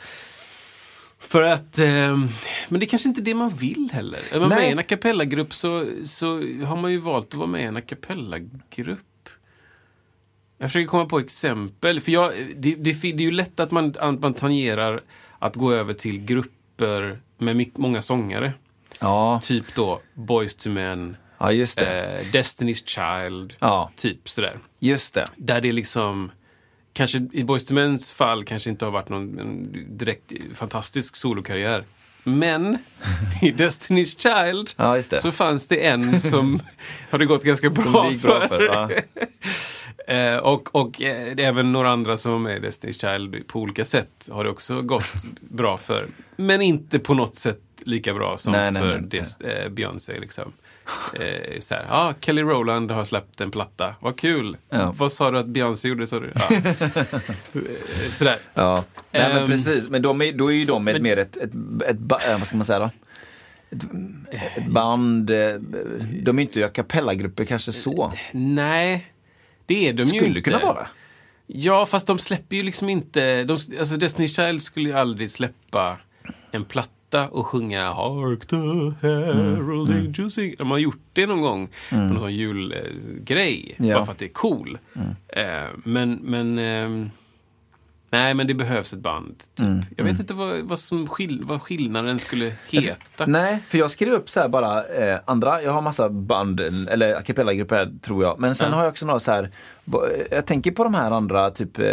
B: För att, eh, men det är kanske inte det man vill heller. Är man
A: Nej.
B: med i en a cappella-grupp så, så har man ju valt att vara med i en a cappella-grupp. Jag försöker komma på exempel. För jag, det, det, det är ju lätt att man, att man tangerar att gå över till grupper med mycket, många sångare.
A: Ja,
B: Typ då Boys to Men,
A: ja just det.
B: eh, Destiny's Child,
A: Ja.
B: typ sådär.
A: Just det.
B: Där det liksom, kanske i Boyz II Mens fall kanske inte har varit någon en direkt fantastisk solokarriär. Men i Destiny's Child
A: Ja, just det.
B: så fanns det en som har det gått ganska bra,
A: Som det gick bra för. Ja.
B: Eh, och och eh, det är även några andra som var med i Destiny's Child på olika sätt har det också gått bra för. Men inte på något sätt lika bra som
A: Nej, nej,
B: för
A: nej, nej.
B: Des- eh, Beyoncé. Liksom. Eh, så här, ah, Kelly Rowland har släppt en platta, vad kul!
A: Ja.
B: Vad sa du att Beyoncé gjorde? Sa du? Ja. Eh, Sådär.
A: Ja, Nej, men
B: Ehm,
A: precis. Men de är, då är ju de ett, mer ett, ett, ett, ba- eh, vad ska man säga då? Ett, ett band, eh, de är inte a cappella-grupper kanske så.
B: Nej, det är de ju
A: Skulle
B: inte.
A: kunna vara.
B: Ja, fast de släpper ju liksom inte... De, alltså Destiny's Child skulle ju aldrig släppa en platta och sjunga Hark the
A: Mm,
B: herald angels sing. De har gjort det någon gång på någon sån julgrej.
A: Ja. Mm.
B: Bara för att det är cool. Eh, men, men... ehm, nej, men det behövs ett band. Typ.
A: Mm,
B: Jag vet inte vad, vad, som skill, vad skillnaden skulle heta.
A: Nej, för jag skrev upp så här bara eh, andra, jag har massa band, eller a cappella-grupper här, tror jag. Men sen har jag också några så här, va- jag tänker på de här andra, typ eh,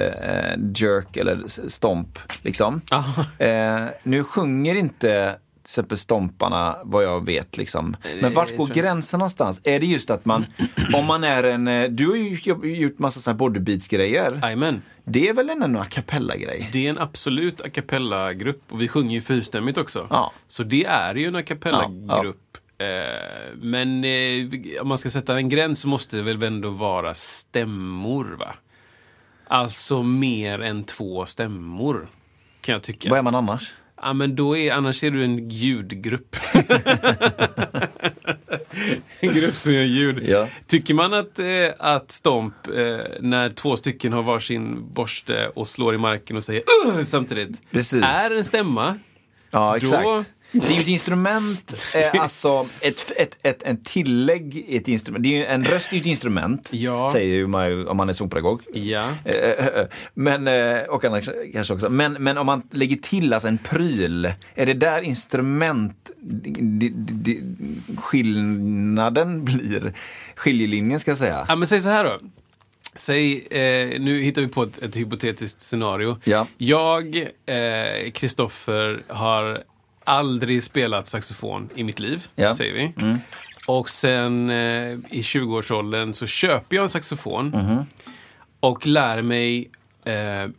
A: Jerk eller s- Stomp. Liksom. Eh, nu sjunger inte till exempel stomparna vad jag vet liksom. Men vart går gränsen någonstans? Är det just att man, om man är en, eh, du har ju jobb- gjort massa så här bodybeats-grejer.
B: Jajamän.
A: Det är väl ändå en a cappella-grej?
B: Det är en absolut a cappella-grupp och vi sjunger ju fyrstämmigt också.
A: Ja.
B: Så det är ju en a cappella-grupp. Eh, Men eh, om man ska sätta en gräns så måste det väl ändå vara stämmor, va? Alltså mer än två stämmor, kan jag tycka.
A: Vad är man annars?
B: Ja, men då är, annars är du en ljudgrupp. en grupp som gör ljud.
A: Ja.
B: Tycker man att, eh, att Stomp, eh, när två stycken har varsin borste och slår i marken och säger "Ugh!" samtidigt,
A: Precis.
B: är en stämma,
A: Ja, exakt.
B: Då-
A: Det är ju ett instrument, eh, alltså ett, ett, ett, ett tillägg i ett instrument. Det är ju, en röst är ju ett instrument,
B: Ja.
A: säger ju man ju om man är sångpedagog.
B: ja.
A: Eh, eh, eh, Men, eh, och annars kanske också. Men, men om man lägger till alltså en pryl, är det där instrument det, det, det, skillnaden blir? Skiljelinjen ska jag säga.
B: Ja, men säg så här då. Säg, eh, nu hittar vi på ett, ett hypotetiskt scenario.
A: Ja.
B: Jag, Kristoffer, har aldrig spelat saxofon i mitt liv,
A: Ja. Mm.
B: säger vi. Och sen eh, i 20-årsåldern så köper jag en saxofon
A: Mm-hmm.
B: och lär mig eh,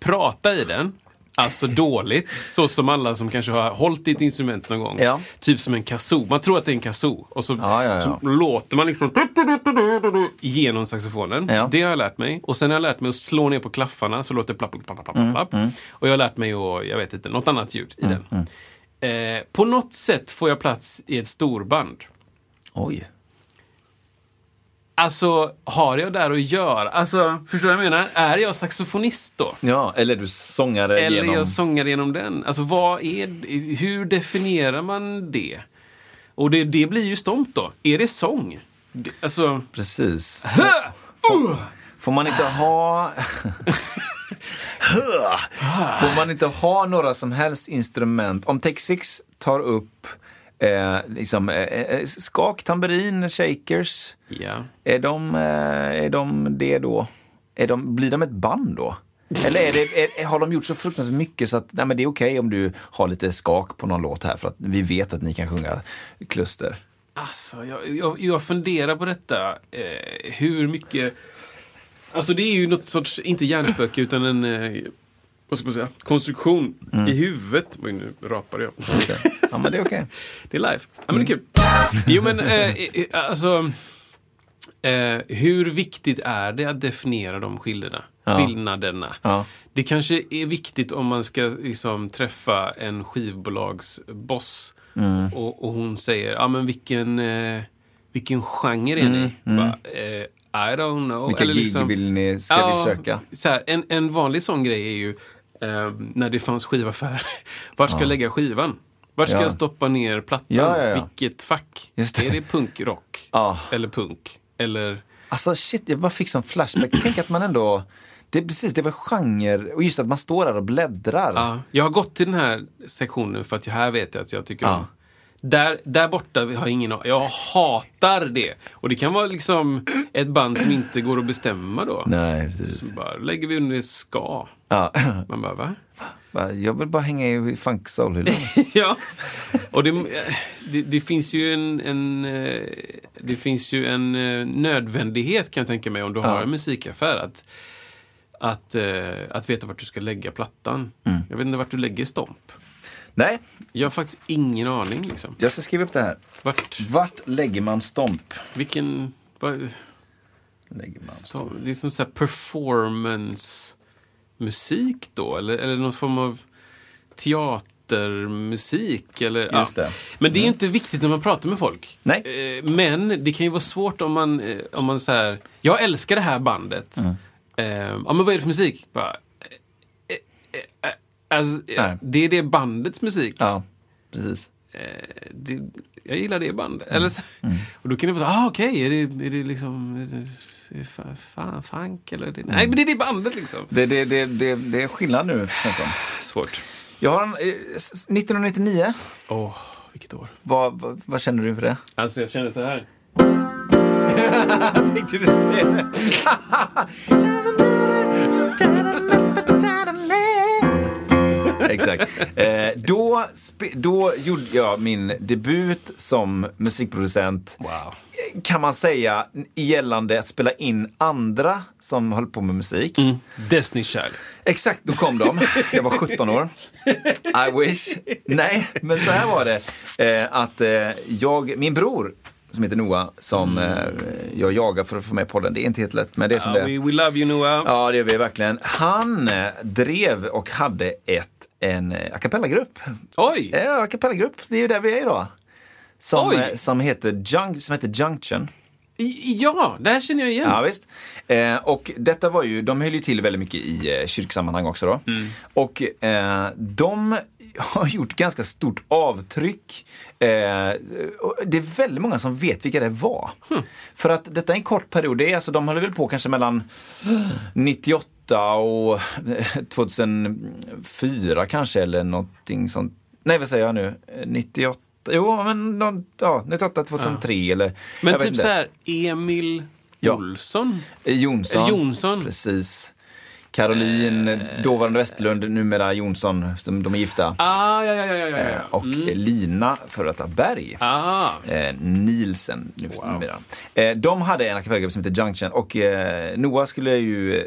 B: prata i den. Alltså dåligt, så som alla som kanske har hållit i ett instrument någon gång.
A: Ja.
B: Typ som en kazoo. Man tror att det är en kazoo och så,
A: Ja, ja, ja.
B: så låter man liksom genom saxofonen.
A: Ja.
B: Det har jag lärt mig. Och sen har jag lärt mig att slå ner på klaffarna så låter det plapp, plapp, plapp, plapp, plapp.
A: Mm,
B: Och jag har lärt mig att, jag vet inte, något annat ljud i den. Eh, på något sätt får jag plats i ett storband.
A: Oj.
B: Alltså, har jag där att göra? Alltså, förstår du vad jag menar? Är jag saxofonist då?
A: Ja, eller du sångare
B: Eller
A: genom...
B: jag sångar genom den. Alltså vad är, hur definierar man det? Och det, det blir ju stomt då. Är det sång? Det- Alltså,
A: Precis. Får, får, får man inte ha... får man inte ha några som helst instrument? Om Take Six tar upp eh, liksom, eh, eh, skak, tamburin, shakers.
B: ja.
A: Är de, eh, är de det då? Är de, blir de ett band då? Eller är det, är, har de gjort så fruktansvärt mycket så att nej, men det är okej om du har lite skak på någon låt här för att vi vet att ni kan sjunga kluster.
B: Alltså, jag, jag, jag funderar på detta. Eh, hur mycket... Alltså det är ju något sorts, inte hjärnspöke, utan en... Eh, vad ska man säga? Konstruktion i huvudet. Oj, nu rapar jag.
A: Ja, men det är okej. Mm.
B: Det är live. Ja, men det är kul. Jo, men eh, eh, alltså... Eh, hur viktigt är det att definiera de skillnaderna?
A: Ja.
B: skillnaderna?
A: Ja.
B: Det kanske är viktigt om man ska liksom, träffa en skivbolagsboss
A: Mm.
B: och, och hon säger, ja ah, men vilken, eh, vilken genre är ni? Bara, eh, I don't know.
A: Mm. Vilka
B: Eller liksom-
A: gig vill ni, ska vi söka?
B: Så här, en, en vanlig sån grej är ju eh, när det fanns skivaffärer. Var ska jag lägga skivan? Var ska
A: Ja.
B: jag stoppa ner plattan?
A: Ja, ja, ja.
B: Vilket fack?
A: Just det.
B: Är det punkrock?
A: Ja.
B: Eller punk? Eller...
A: Alltså shit, jag bara fick sån flashback. Tänk att man ändå... Det är precis, det var genre. Och just att man står där och bläddrar.
B: Ja, jag har gått till den här sektionen för att jag här vet jag att jag tycker
A: Ja.
B: om. Där, där borta har jag ingen Jag hatar det. Och det kan vara liksom ett band som inte går att bestämma då.
A: Nej, precis.
B: Så bara lägger vi under ska.
A: Ja.
B: Man bara, va?
A: Bara, Jag vill bara hänga i funk soul
B: ja. Och det, det, det finns ju en, en, eh, det finns ju en eh, nödvändighet kan jag tänka mig om du har en musikaffär. Att, att, eh, att veta vart du ska lägga plattan. Jag vet inte vart du lägger stomp.
A: Nej,
B: Jag har faktiskt ingen aning. Liksom.
A: jag ska skriva upp det här.
B: Vart,
A: Vart lägger man stomp?
B: vilken... Vad,
A: Lägger man. stomp.
B: så, Alltså, det är som så här performance-musik då? Eller, eller någon form av teatermusik? Eller,
A: Just det. Mm.
B: Men det är ju inte viktigt när man pratar med folk.
A: Nej.
B: Eh, Men det kan ju vara svårt om man, eh, om man så här, jag älskar det här bandet.
A: Mm.
B: Eh, Ja, men vad är det för musik? Bara, eh, eh, eh, alltså, eh,
A: Nej.
B: det är det bandets musik.
A: Ja, precis.
B: Eh, det, jag gillar det bandet.
A: Mm.
B: Eller så, Och då kan det vara så, ah okej, är, det, är det liksom är det, är det fa, fa, funk eller? Är det,
A: Mm.
B: nej, men det är det bandet liksom.
A: Det, det, det, det, det är skillnad nu, känns som.
B: Svårt.
A: Jag har en, eh, s- 1999.
B: Åh, vilket år.
A: Vad, vad, vad känner du för det?
B: Alltså jag känner så här.
A: Jag tänkte precis säga det. Exakt. Eh, då, spe- då gjorde jag min debut som musikproducent.
B: Wow.
A: Kan man säga gällande att spela in andra som höll på med musik.
B: Mm. Destiny's Child.
A: Exakt, då kom de. Jag var 17 år. I wish. Nej, men så här var det. Eh, att eh, jag, min bror, som heter Noah, som
B: Mm.
A: eh, jag jagar för att få med i podden. Det är inte helt lätt, men det är som
B: Ah,
A: det
B: we,
A: är.
B: we love you Noah.
A: Ja, det gör vi verkligen. Han eh, drev och hade ett, en eh, a cappella-grupp.
B: Oj!
A: Ja, a cappella-grupp. Det är ju där vi är idag. Som,
B: Oj!
A: eh, som, heter, Jun- som heter Junction.
B: I- Ja, det här känner jag igen.
A: Ja, visst. Eh, och detta var ju, de höll ju till väldigt mycket i eh, kyrksammanhang också då.
B: Mm.
A: Och eh, de har gjort ganska stort avtryck. Eh, och det är väldigt många som vet vilka det var.
B: Hm.
A: För att detta är en kort period, det är, alltså, de höll väl på kanske mellan 98 och 2004 kanske eller någonting sånt. Nej, vad säger jag nu? 98? Jo, men någon- ja, 98, 2003 eller... jag
B: men
A: vet
B: typ
A: inte.
B: så här, Emil
A: Ja.
B: Olsson.
A: Jonsson.
B: Eh, Jonsson. Eh.
A: Precis. Caroline, dåvarande Westlund, numera Jonsson, som de är gifta.
B: Ah, ja, ja, ja, ja, ja.
A: Eh, Och Lina, före detta Berg.
B: Ah.
A: Eh, Nielsen nu för numera. Eh, de hade en a cappella-grupp som hette Junction och eh, Noah skulle ju, eh,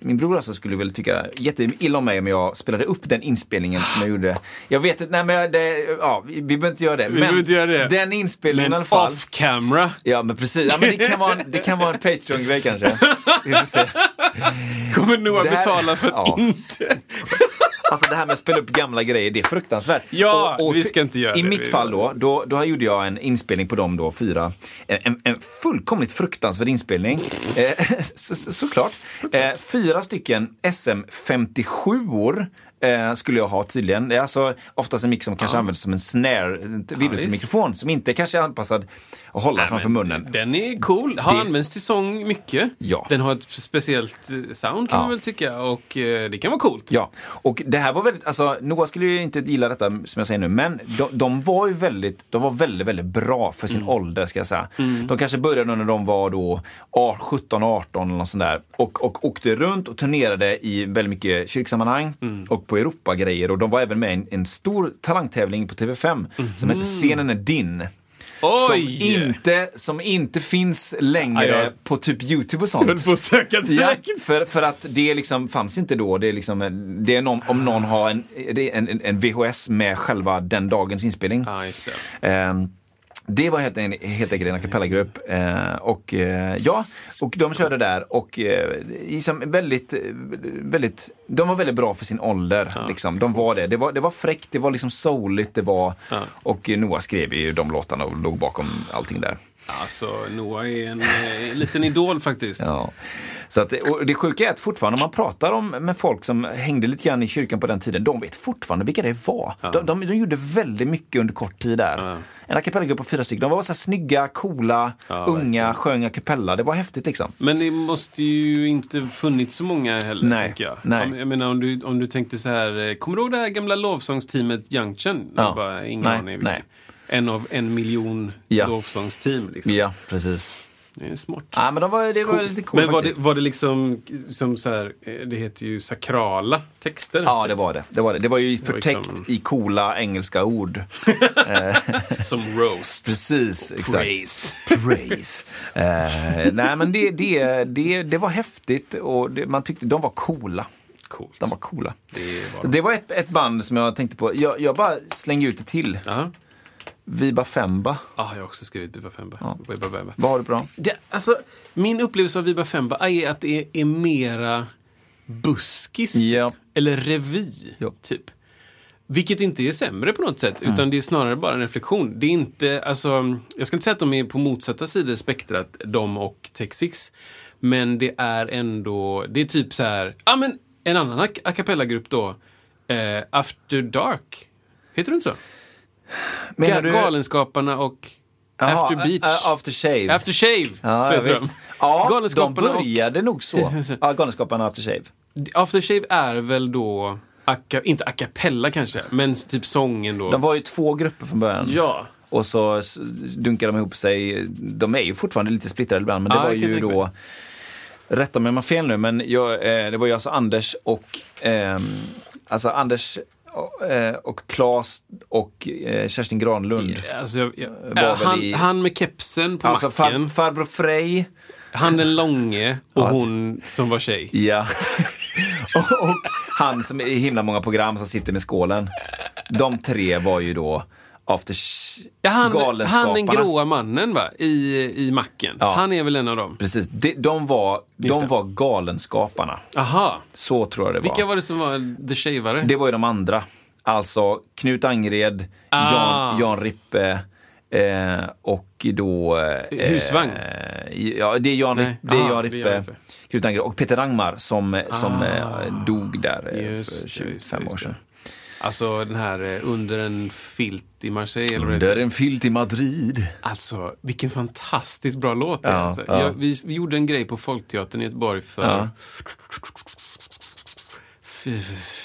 A: min bror alltså skulle väl tycka jätteilla om mig om jag spelade upp den inspelningen som jag gjorde. Jag vet inte, nej men jag- det, ja, vi behöver inte göra det. men
B: behöver inte göra det.
A: Den inspelningen i
B: Men
A: alla fall.
B: off camera.
A: Ja men precis, ja, men det kan vara en, det kan vara en Patreon-grej kanske. Vi får se.
B: Kommer Noah
A: Det här-
B: betala för
A: Ja.
B: att inte...
A: Alltså det här med att spela upp gamla grejer, det är fruktansvärt.
B: Ja, vi ska inte göra
A: I
B: det.
A: mitt fall då, då, då gjorde jag en inspelning på dem då, fyra. En, en, en fullkomligt fruktansvärd inspelning. Eh, så, så, såklart. Eh, fyra stycken SM57-or eh, skulle jag ha tydligen. Det är alltså oftast en mick som kanske används som en snare, en virvelmikrofon som inte kanske är anpassad att hålla framför munnen.
B: Den är cool. Har
A: Det-
B: använts till sång mycket.
A: Ja.
B: Den har ett speciellt eh, sound kan
A: Ja.
B: man väl tycka och eh, det kan vara coolt.
A: Ja, och det här var väldigt, alltså Noah skulle ju inte gilla detta som jag säger nu, men de, de var ju väldigt, de var väldigt, väldigt bra för sin
B: Mm.
A: ålder ska jag säga. De kanske började när de var då 17, 18 eller något sånt där och, och åkte runt och turnerade i väldigt mycket kyrksammanhang
B: Mm.
A: och på Europagrejer och de var även med i en, en stor talangtävling på TV5 som heter Scenen är din. Som
B: Mm. Oj!
A: inte, som inte finns längre
B: Aj då.
A: på typ Youtube och sånt.
B: på att söka
A: Ja, för, för att det liksom fanns inte då. Det är liksom, det är någon, om någon har en, det är en, en- en VHS med själva den dagens inspelning.
B: Ja, just det.
A: Ehm, Det var helt, en- helt enkelt en a cappella-grupp. Eh, och, eh, ja, och de körde där och eh, liksom väldigt, eh, väldigt, de var väldigt bra för sin ålder. Liksom. De var det. Det var, det var fräckt, det var liksom souligt. Det var, Och eh, Noah skrev ju de låtarna och låg bakom allting där.
B: Alltså, Noah är en eh, liten idol faktiskt.
A: Ja. Så att, och det sjuka är att fortfarande om man pratar om, med folk som hängde lite grann i kyrkan på den tiden, de vet fortfarande vilka det var. De, de, de gjorde väldigt mycket under kort tid där. En a cappella-grupp på fyra stycken. De var så här snygga, coola, unga, sjöng a cappella. Det var häftigt liksom.
B: Men det måste ju inte funnits så många heller,
A: Nej,
B: tänker jag.
A: nej.
B: Om, jag menar, om du, om du tänkte så här, eh, kommer du ihåg det här gamla lovsångsteamet Junction? Det var bara, ingen
A: nej,
B: aning.
A: nej.
B: En av en miljon
A: Ja.
B: lovsångsteam. Liksom.
A: Ja, precis.
B: Det är smart.
A: Ja, men de var, det var lite coolt
B: Men var det,
A: faktiskt.
B: var det liksom, som så här, eh, det heter ju sakrala texter.
A: Ja, det var det. Det var, det. Det var ju
B: var liksom-
A: förtäckt i coola engelska ord.
B: Som roast.
A: Precis, exakt.
B: Praise.
A: Praise. Eh, nej, men det, det, det, det var häftigt och det, man tyckte de var coola.
B: Coolt.
A: De var coola.
B: Det var
A: Det var ett, ett band som jag tänkte på. Jag, jag bara slänger ut det till.
B: Ja,
A: Viba Femba.
B: ah, jag har också skrivit Viva Femba. Viva Femba.
A: Vad har du på dem?
B: Det, alltså, min upplevelse av Viva Femba är att det är, är mera buskis, typ.
A: Ja.
B: eller revy,
A: Ja.
B: typ. Vilket inte är sämre på något sätt, utan det är snarare bara en reflektion. Det är inte, alltså, jag ska inte säga att de är på motsatta sidor i spektrat, de och Texix. Men det är ändå, det är typ så här, ja men en annan a, a cappella-grupp då, eh, After Dark. Heter det inte så? Ga- Galenskaparna och
A: Jaha,
B: After Beach.
A: eh, eh, after Shave.
B: After Shave,
A: Ja,
B: så
A: ja,
B: heter
A: visst. ja de
B: Galenskaparna och-
A: började nog så. Ja, Galenskaparna och After Shave.
B: After Shave är väl då, aca, inte a cappella kanske, men typ sången då.
A: De var ju två grupper från början.
B: Ja.
A: Och så s- dunkade de ihop sig. De är ju fortfarande lite splittrade ibland, men det
B: Ja,
A: var
B: jag kan
A: ju
B: tänka
A: då... Rätta mig om jag har fel nu, men jag, eh, det var ju alltså Anders och... ehm, alltså Anders eh, och Claes och eh, Kerstin Granlund.
B: Alltså, jag, jag,
A: Var
B: äh,
A: väl
B: han,
A: i-
B: han med kepsen på
A: Alltså
B: macken,
A: far, farbror Frej.
B: han den långe och hon som var tjej.
A: Ja. och, och han som är i himla många program som sitter med skålen. De tre var ju då After Sh-
B: Ja, han,
A: Galenskaparna.
B: han den gråa mannen va, i, i macken.
A: Ja.
B: Han är väl en av dem?
A: Precis, de, de, var,
B: det.
A: de var Galenskaparna.
B: Aha.
A: Så tror jag det var.
B: Vilka var det som var the shavare?
A: Det var ju de andra. Alltså Knut Angred,
B: Ah.
A: Jan, Jan Rippe eh, och då... Eh,
B: Husvagn?
A: Eh, ja, det är Jan,
B: Nej.
A: Ripp- det är Jan
B: Ah, det är
A: Rippe,
B: Jan Rippe. Ah.
A: Knut Angred och Peter Rangmar som, som eh, dog där eh,
B: Just
A: för
B: det,
A: 25
B: just det,
A: år
B: just det.
A: sedan.
B: Alltså den här eh, under en filt i Marseille. eller vad det heter.
A: Under en filt i Madrid.
B: Alltså, vilken fantastiskt bra låt det är.
A: Ja,
B: alltså.
A: ja.
B: jag, vi, vi gjorde en grej på Folkteatern i Göteborg för
A: Ja.
B: f-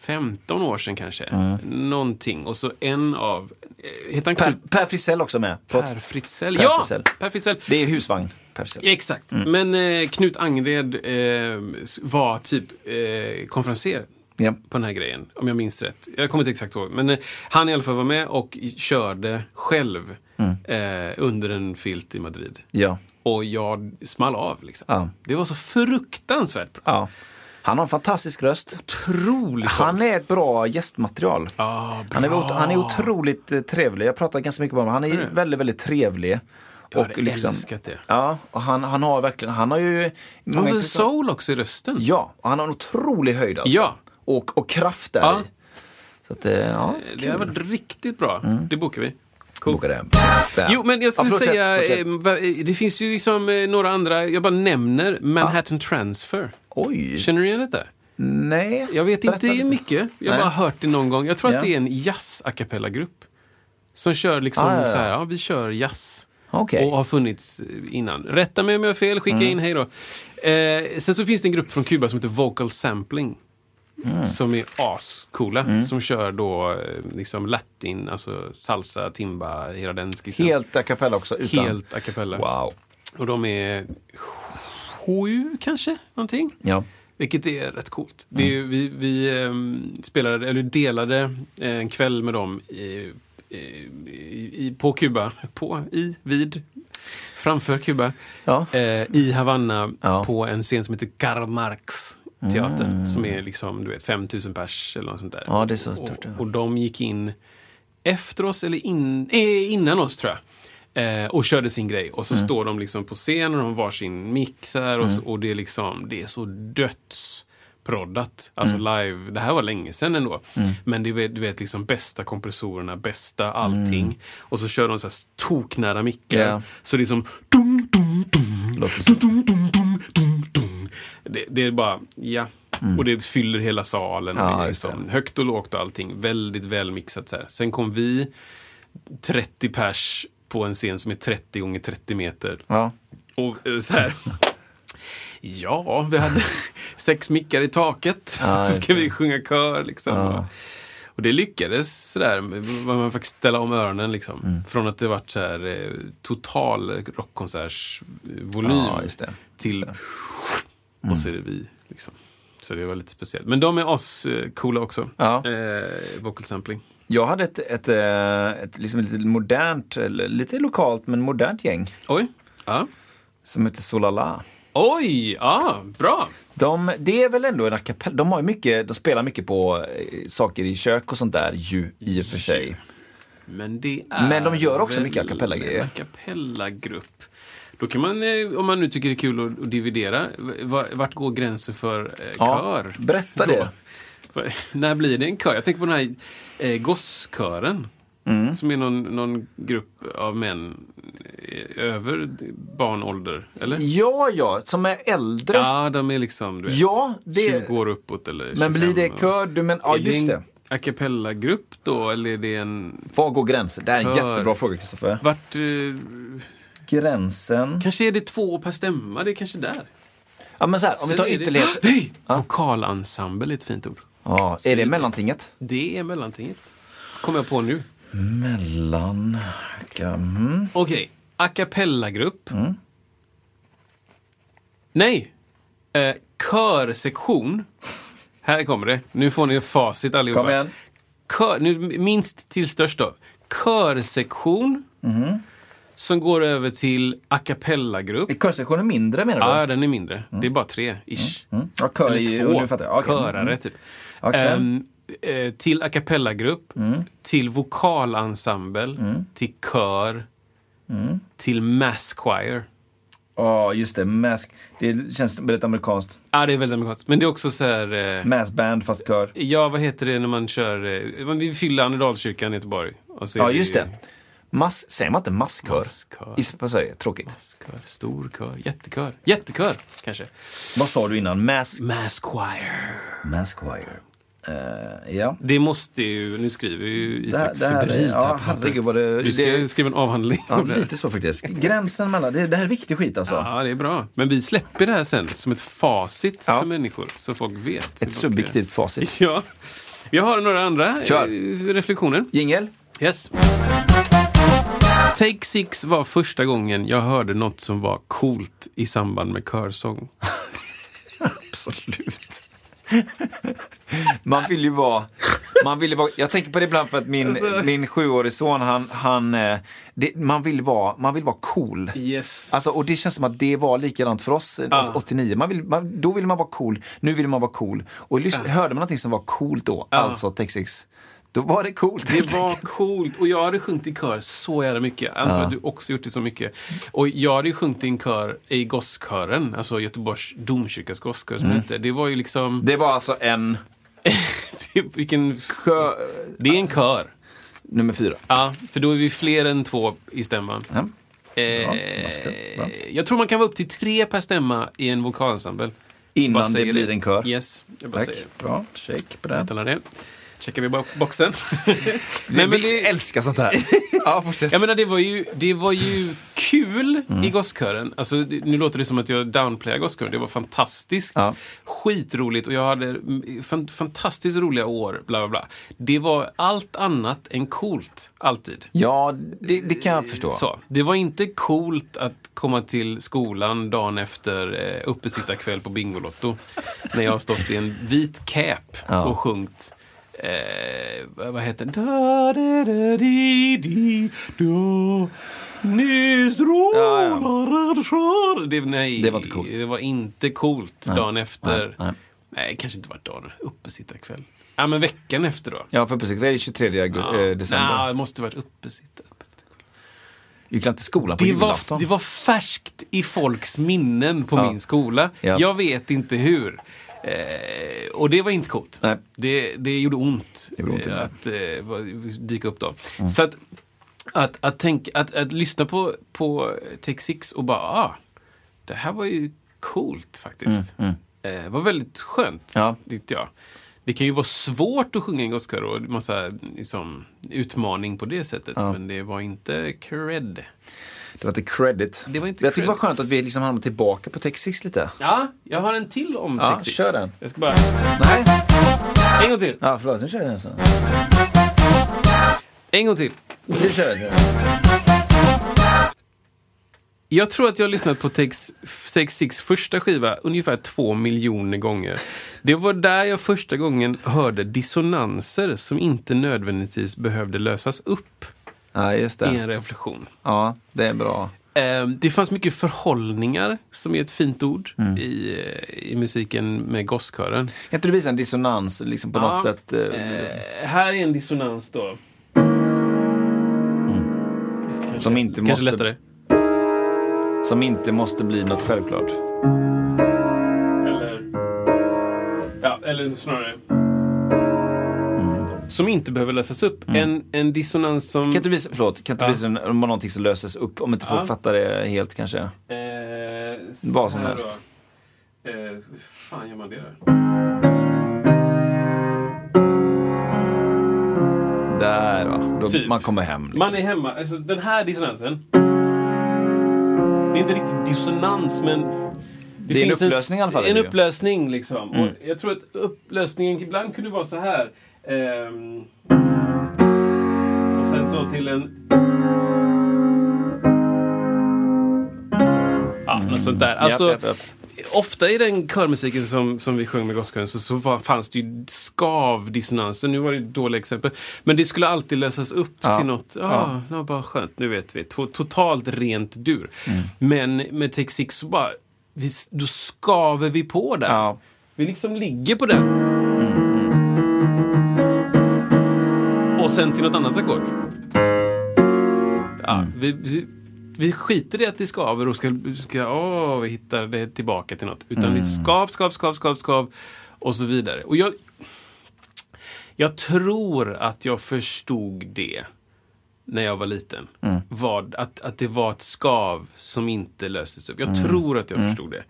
B: 15 år sedan kanske. Någonting. Och så en av... eh, Heter han
A: Per,
B: Knut?
A: per Frisell också med. Förlåt.
B: per Fritzell?
A: Per
B: ja!
A: Fritzell. Mm.
B: Per Fritzell.
A: Det är husvagn. Per Frisell.
B: Exakt. Men eh, Knut Angred eh, s- var typ eh, konferenser
A: Ja.
B: på den här grejen, om jag minns rätt. Jag kommer inte exakt ihåg. Men eh, han i alla fall var med och i- körde själv
A: Mm.
B: eh, under en filt i Madrid.
A: Ja.
B: Och jag small av. Liksom.
A: Ja.
B: Det var så fruktansvärt bra.
A: ja. Han har en fantastisk röst.
B: Otroligt bra.
A: Han är ett bra gästmaterial.
B: Ah, bra.
A: Han är, ot- han är otroligt eh, trevlig. Jag pratar ganska mycket om honom. Han är ju väldigt, väldigt trevlig. liksom-
B: Jag hade älskat det.
A: Ja, och han, han har verkligen, han har ju...
B: Han har så soul också i rösten.
A: Ja, och han har en otrolig höjd alltså.
B: Ja.
A: Och, och kraft där
B: Ja.
A: i. Så att, eh, ja.
B: Det har varit riktigt bra. Det bokar vi.
A: Boka det. Där.
B: Jo, men jag skulle
A: Mm. Ja, fortsätt,
B: säga,
A: fortsätt.
B: eh, va- eh, det finns ju liksom eh, några andra, jag bara nämner Manhattan Transfer.
A: Oj.
B: Känner du igen detta?
A: Nej.
B: Jag vet
A: Berätta
B: inte
A: lite.
B: mycket. Jag har
A: Nej.
B: bara hört det någon gång. Jag tror
A: Ja.
B: att det är en jazz a cappella-grupp. Som kör liksom
A: Ah, ja, ja.
B: så här, ja vi kör jazz.
A: Okej. Mm.
B: Och har funnits eh, innan. Rätta mig om jag har fel, skicka in, hej då. Eh, sen så finns det en grupp från Kuba som heter Vocal Sampling.
A: Mm.
B: Som är ascoola. Som kör då eh, liksom latin, alltså salsa, timba, hela den skissen.
A: Helt a cappella också? Utan.
B: Helt a cappella.
A: Wow.
B: Och de är sju kanske, någonting.
A: Ja.
B: Vilket är rätt coolt. Det är, ju-
A: Mm.
B: vi vi ehm, spelade, eller delade eh, en kväll med dem i, i, i, på Kuba, på, i, vid, framför Kuba,
A: Ja.
B: eh, i Havanna
A: Ja. Mm.
B: på en scen som heter Karl Marx teater som är liksom, du vet, 5000 pers eller något sånt där.
A: Ja, det är så stort, ja.
B: Och, och de gick in efter oss, eller in, eh, innan oss tror jag. Eh, och körde sin grej. Och så står de liksom på scen och de har varsin mix här och, så, och det är liksom, det är så dödsproddat. Alltså live, det här var länge sedan ändå. Men det är, du vet, liksom bästa kompressorerna, bästa allting. Och så kör de så här toknära mickar.
A: Ja.
B: Så det är som dum, dum, dum,
A: Låter så.
B: dum, dum, dum, dum, dum. Det, det är bara, ja. Och det fyller hela salen.
A: Mm. Ja,
B: och det är
A: just det.
B: liksom, högt och lågt och allting. Väldigt välmixat. Så här. Sen kom vi, 30 pers på en scen som är 30 gånger 30 meter.
A: Ja.
B: Och eh, så här. Ja, vi hade sex mickar i taket.
A: Ja,
B: så
A: just
B: ska vi sjunga kör liksom. Och det lyckades sådär. Man man fick ställa om öronen liksom.
A: Mm.
B: Från att det varit så här eh, total rockkonsertsvolym
A: Ja, just det. Mm.
B: till och så är det vi. Liksom. Så det var lite speciellt. Men de är oss eh, coola också.
A: Ja.
B: Eh, vocal sampling.
A: Jag hade ett, ett, eh, ett liksom lite modernt, eller lite lokalt men modernt gäng
B: Oj. Ja.
A: som heter Solala.
B: Oj! Ja, bra.
A: De, det är väl ändå en a cappella. De, har ju mycket, de spelar mycket på eh, saker i kök och sånt där ju, i och för sig.
B: Men det är
A: Men de gör också
B: väl
A: mycket a cappella-grejer.
B: En a cappella-grupp. Då kan man, eh, om man nu tycker det är kul att, att dividera, v- va- vart går gränsen för eh,
A: Ja,
B: kör?
A: berätta
B: Då?
A: det.
B: Va- När blir det en kör? Jag tänker på den här eh, gosskören.
A: Mm.
B: Som är någon, någon grupp av män eh, över barnålder, eller?
A: Ja, ja, som är äldre.
B: Ja, de är liksom du vet,
A: Ja, det-
B: 20 år uppåt eller 25
A: men blir det
B: och-
A: kör? Du men, ja,
B: är
A: just
B: det. en
A: det.
B: a cappella-grupp då, eller är det en...
A: Var går gränsen? Det här är en
B: Kör.
A: jättebra fråga, Kristoffer.
B: Vart... Eh,
A: Gränsen?
B: Kanske är det två per stämma, det är kanske där.
A: Ja, men så här, om vi
B: Sen
A: tar
B: är det-
A: ytterlighet.
B: Nej! Vokalensemble är ett fint ord.
A: Ja, är det mellantinget?
B: Det är mellantinget. Kommer jag på nu.
A: Mellan... Mm.
B: Okej, a cappella-grupp. Nej! Eh, körsektion. Här kommer det. Nu får ni facit allihopa.
A: Kom igen.
B: Kör, nu, minst till störst då. Körsektion.
A: Mm-hmm.
B: Som går över till a cappella-grupp.
A: Är körsektionen mindre menar du?
B: Ja, den är mindre. Det är bara tre, ish.
A: Mm. Ja, kör
B: Eller
A: i,
B: två
A: nu fattar jag. Ja, okej. Mm.
B: körare, typ.
A: Ja, Mm. sen?
B: Ehm, eh, till a cappella-grupp, till vokalensemble,
A: Mm.
B: till kör, till mass choir.
A: Ja, just det. Mask. Det känns väldigt amerikanskt.
B: Ja, ah, det är väldigt amerikanskt. Men det är också så här... Eh,
A: Mm. Massband fast kör.
B: ja, vad heter det när man kör... Eh, man vill fylla Annedalskyrkan i Göteborg. Och så är
A: Ja, just det. Mass, säger man inte masskör?
B: Masskör.
A: I, på Sverige, tråkigt.
B: Masskör, stor kör, jättekör. Jättekör, kanske.
A: Vad sa du innan? Mask...
B: Mass choir.
A: Maskwire. Eh, ja.
B: Det måste ju... Nu skriver ju
A: Det här-
B: Isak
A: det här är-
B: febrilt
A: ja,
B: här på pappret.
A: herregud, vad det-
B: Du ska
A: det-
B: skriva en avhandling
A: ja,
B: om det här.
A: lite så faktiskt. Gränsen mellan... Det, det här är viktig skit alltså.
B: Ja, det är bra. Men vi släpper det här sen som ett facit
A: Ja.
B: för människor, så folk vet. hur de
A: Ett
B: ska göra.
A: subjektivt facit.
B: Ja. Jag har några andra eh,
A: Kör.
B: reflektioner.
A: Jingel?
B: Yes. Take Six var första gången jag hörde något som var coolt i samband med körsång.
A: Absolut. Man vill ju vara... Man vill ju vara jag tänker på det ibland för att min,
B: Alltså-
A: min sjuårig son, han... han eh, det, man, vill vara, man vill vara cool.
B: Yes.
A: Alltså, och det känns som att det var likadant för oss eh, 89. Man vill, man, då ville man vara cool, nu vill man vara cool. Och lys- hörde man någonting som var coolt då, alltså Texix, då var det coolt.
B: Det var coolt. Och jag hade sjungit i kör så jävla mycket. Jag antar att du också gjort det så mycket. Och jag hade ju sjungit i en kör i gosskören, alltså Göteborgs domkyrkas gosskör som
A: Mm.
B: det hette. Det var ju liksom...
A: Det var alltså en
B: Vilken
A: kö, eh,
B: Det är en kör.
A: nummer fyra.
B: Ja, för då är vi fler än två i stämman.
A: Ja.
B: Eh,
A: vad ska- bra.
B: jag tror man kan vara upp till tre per stämma i en vokalensemble. Vad
A: Innan det
B: säger
A: blir
B: du?
A: en kör.
B: Yes, jag bara
A: Tack.
B: säger
A: Bra, shake på den.
B: det. Alla det. Checkar vi bara boxen.
A: Nej,
B: Nej,
A: men
B: men
A: vi
B: det,
A: älskar sånt här. ja, fortsätt.
B: jag menar, det var ju, det var ju kul
A: Mm.
B: i gosskören. Alltså, det- nu låter det som att jag downplayar gosskören. Det var fantastiskt.
A: Ja.
B: Skitroligt och jag hade mm, fan- fantastiskt roliga år. Bla, bla, bla. Det var allt annat än coolt, alltid.
A: Ja, det, det kan jag förstå.
B: Så, det var inte coolt att komma till skolan dagen efter eh, uppesittarkväll på Bingolotto. när jag har stått i en vit cap och sjungit Eh, vad vad heter den? Da, da, da, di, di, da. Nu strålar det skär. det, nej,
A: Det var inte coolt.
B: Det var inte coolt dagen efter.
A: nej,
B: Nej,
A: nej.
B: kanske inte var dagen. Uppesittarkväll. Ja, men veckan efter då.
A: Ja, för precis. Det är 23 augusti,
B: Ja.
A: eh, december.
B: Nej, det måste varit uppesittare.
A: gick inte i skolan på
B: Det var,
A: julafton.
B: det var färskt i folks minnen på min skola.
A: Ja.
B: Jag vet inte hur. Eh, och det var inte coolt.
A: Nej.
B: Det, det gjorde ont,
A: gjorde ont i
B: eh,
A: mig.
B: att eh, va- dyka upp då. Så att, att, att, tänka, att, att lyssna på, på Take Six och bara, ah, det här var ju coolt faktiskt. Eh, var väldigt skönt,
A: Mm, Ja.
B: tyckte jag. Det kan ju vara svårt att sjunga en gosskör och massa liksom, utmaning på det sättet. Men det var inte cred.
A: Det var inte credit.
B: Det var inte
A: jag tycker det var
B: credit.
A: skönt att vi liksom hamnade tillbaka på Texas lite.
B: Ja, jag har en till om
A: Ja,
B: Texas.
A: kör den.
B: Jag ska bara...
A: Nej.
B: En gång till.
A: Ja, förlåt. Nu kör jag den. så.
B: En gång till.
A: Nu kör jag den.
B: Jag tror att jag har lyssnat på Tex 66 första skiva ungefär två miljoner gånger. Det var där jag första gången hörde dissonanser som inte nödvändigtvis behövde lösas upp
A: Ja, just
B: i
A: det.
B: en reflektion.
A: Ja, det är bra.
B: Eh, Det fanns mycket förhållningar, som är ett fint ord,
A: Mm.
B: i, eh, i musiken med gosskören.
A: Kan inte du visa en dissonans liksom på
B: Ja.
A: något sätt? eh,
B: Eh, här är en dissonans då.
A: som, inte
B: Kanske
A: måste,
B: lättare.
A: som inte måste bli något självklart.
B: Mm. Eller... Ja, eller snarare...
A: Mm.
B: Som inte behöver lösas upp. En, en dissonans som...
A: Kan inte du visa, förlåt, kan inte du
B: Ja.
A: visa en- om någonting som löses upp? Om inte folk
B: Ja.
A: fattar det helt kanske.
B: Eh, så
A: Vad som
B: här
A: helst.
B: då. Eh, hur fan gör man det då?
A: Där va. Då,
B: Typ.
A: Man kommer hem. Liksom.
B: Man är hemma. Alltså den här dissonansen. Det är inte riktigt dissonans men... Det,
A: är en
B: finns
A: upplösning i alla fall, är
B: En
A: det ju. Mm.
B: upplösning liksom. Och jag tror att upplösningen ibland kunde vara så här. ehm, och sen så till en... Ja, något sånt där. Alltså,
A: Mm. japp, japp.
B: Ofta i den körmusiken som, som vi sjöng med gosskören så, så var, fanns det ju skavdissonanser. Nu var det dåliga exempel. Men det skulle alltid lösas upp till något, ah, ja, det var bara skönt, nu vet vi. To, totalt rent dur. Men med Take Six så bara, vi, s- då skaver vi på där.
A: Ja.
B: Vi liksom ligger på den. Mm, Och sen till något annat ackord. Ja,
A: Mm.
B: vi, vi, vi skiter i att vi skaver och ska, ska åh, vi hittar det tillbaka till något. Utan vi skav, skav, skav, skav, skav och så vidare. Och jag, jag tror att jag förstod det när jag var liten. Vad, att, att det var ett skav som inte löstes upp. Jag tror att jag förstod det.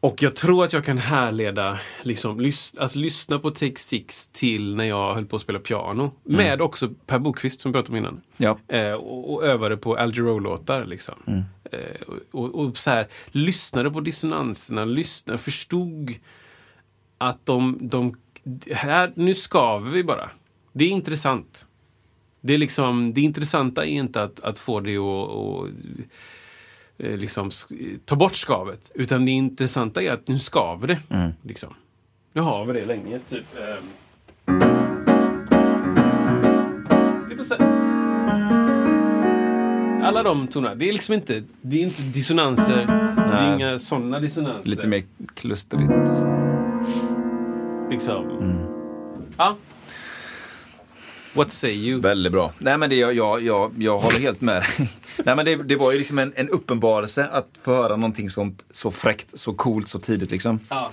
B: Och jag tror att jag kan härleda, liksom, lys- alltså lyssna på Take Six till när jag höll på att spela piano. Med också Per Bokvist som vi pratade om innan.
A: Ja.
B: Eh, och, och övade på Al Jarreau-låtar. Liksom. Eh, och, och, och så här, lyssnade på dissonanserna, lyssnade, förstod att de, de här, nu skaver vi bara. Det är intressant. Det, är liksom, det intressanta är inte att, att få det att att, eh, liksom, sk- ta bort skavet. Utan det intressanta är att nu skaver det.
A: Mm.
B: Liksom. Nu har vi det länge, typ. ehm. Det är på så alla de tonerna. Det är liksom inte, det är inte dissonanser. Det är
A: Nej.
B: inga sådana dissonanser.
A: Lite mer klusterigt. och så.
B: Liksom.
A: Mm.
B: Ja. What say you?
A: Väldigt bra. Nej men det, jag, jag, jag, jag håller helt med dig. Nej men det, det var ju liksom en, en uppenbarelse att få höra någonting sånt så fräckt, så coolt, så tidigt liksom.
B: Ja.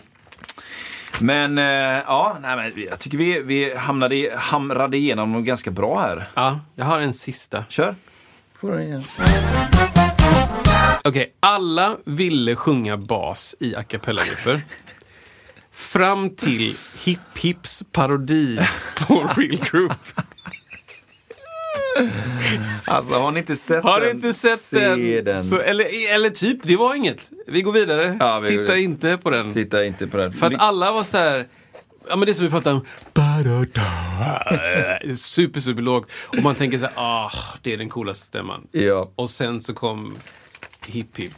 A: Men eh, ja, nej, men jag tycker vi, vi hamnade, i- hamrade igenom dem ganska bra här.
B: ja, jag har en sista.
A: Kör! Får den igen.
B: Okej, alla ville sjunga bas i a cappella-grupper. Fram till Hip Hips parodi på Real Group.
A: Alltså har ni inte sett
B: Har du
A: den?
B: inte sett
A: Se
B: den? Så, eller, eller typ, det var inget. Vi går vidare.
A: Ja, vi går
B: Titta
A: vidare.
B: inte på den.
A: Titta inte på den.
B: För att alla var så här... Ja men det som vi pratade om. Ba-da-da. Super, super lågt. Och man tänker så här, ah, det är den coolaste stämman.
A: Ja,
B: Och sen så kom Hip Hip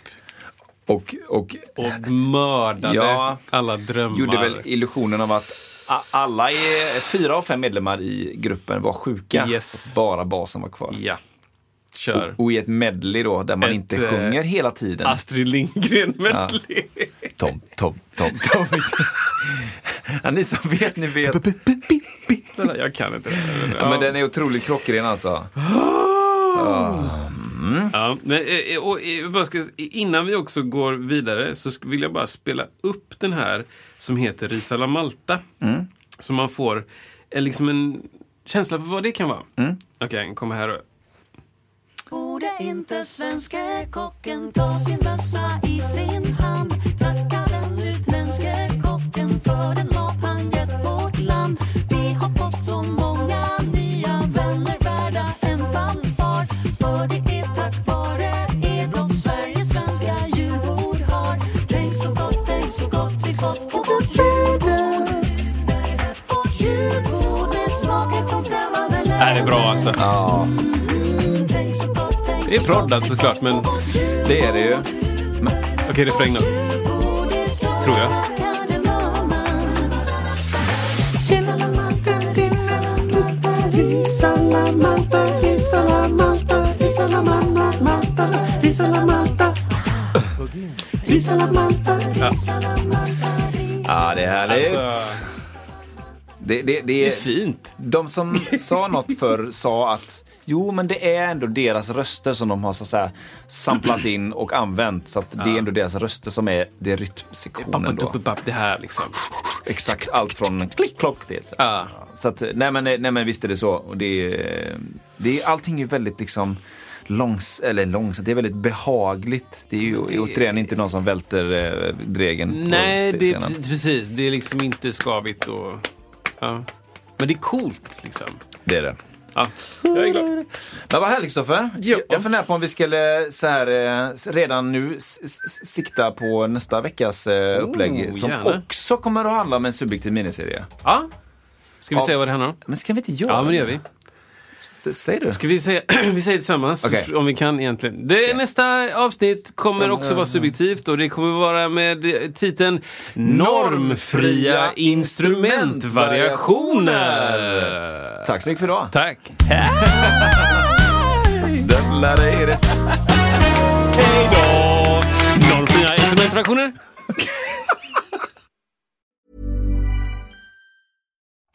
A: och, och
B: och mördade
A: Ja.
B: alla drömmar.
A: gjorde väl illusionen av att a- alla är, fyra av fem medlemmar i gruppen var sjuka.
B: Yes.
A: Bara basen var kvar.
B: Ja. Kör.
A: Och i ett medley då, där man
B: Ett,
A: inte
B: eh,
A: sjunger hela tiden.
B: Astrid Lindgren-medley.
A: Tom, Tom, Tom, Tom. ja, ni som vet, ni vet.
B: Jag kan inte det.
A: Ja, men den är otroligt klockren alltså. Ja.
B: Ja, men, eh, eh, och, eh, jag bara ska, innan vi också går vidare så sk- vill jag bara spela upp den här som heter Ris alla Malta.
A: Mm.
B: Så man får en, liksom en känsla på vad det kan vara.
A: Mm.
B: Okej, den kommer här. och-
E: Borde inte svenske kocken ta sin bössa i sin hand? Tacka den utländske kocken för den mat han gett vårt land. Vi har fått så många nya vänner värda en fanfar. För det är tack vare er blott Sverige svenska julbord har. Tänk så gott, tänk så gott vi fått på vårt julbord. Vårt julbord med smaker från främmande länder.
B: Det här är bra alltså.
E: Det är proddat såklart, men
A: Det är det ju.
B: alltså, Okej, refräng nu.
E: tror jag.
A: Ja, det är härligt.
B: Alltså,
A: det, det, det
B: det
A: är
B: är fint.
A: De som sa något förr sa att jo, men det är ändå deras röster som de har så att säga, samplat in och använt. Så att det är ändå deras röster som är det är rytmsektionen. Då.
B: Pappaduppepap, det här liksom.
A: Exakt allt från klick klock till. Så,
B: Ja.
A: så att, nej, men, nej men visst är det så. Och det är, det är, allting är väldigt liksom långs, eller långsamt, det är väldigt behagligt. Det är ju återigen inte någon som välter eh, dregeln
B: Nej,
A: på
B: det,
A: scenen.
B: precis. Det är liksom inte skavigt och... Ja. Men det är coolt liksom.
A: Det är det.
B: Ja, jag är glad.
A: Men vad härligt Kristoffer.
B: Ja.
A: Jag- Jag funderar på om vi skulle så här, eh, redan nu s- s- sikta på nästa veckas eh, upplägg som
B: Oh, gärna.
A: också kommer att handla om en subjektiv miniserie.
B: Ja. Ska vi
A: Av-
B: säga vad det handlar om?
A: Men ska vi inte göra
B: Ja, men det gör vi.
A: S- Säg du.
B: Ska vi säga, vi säger tillsammans
A: Okej.
B: om vi kan egentligen. Det Nästa avsnitt kommer också vara subjektivt och det kommer vara med eh, titeln Normfria instrumentvariationer.
A: Tack så mycket för idag.
B: Tack.
A: Jävlar, det är det.
B: Hej då! Normfria instrumentvariationer.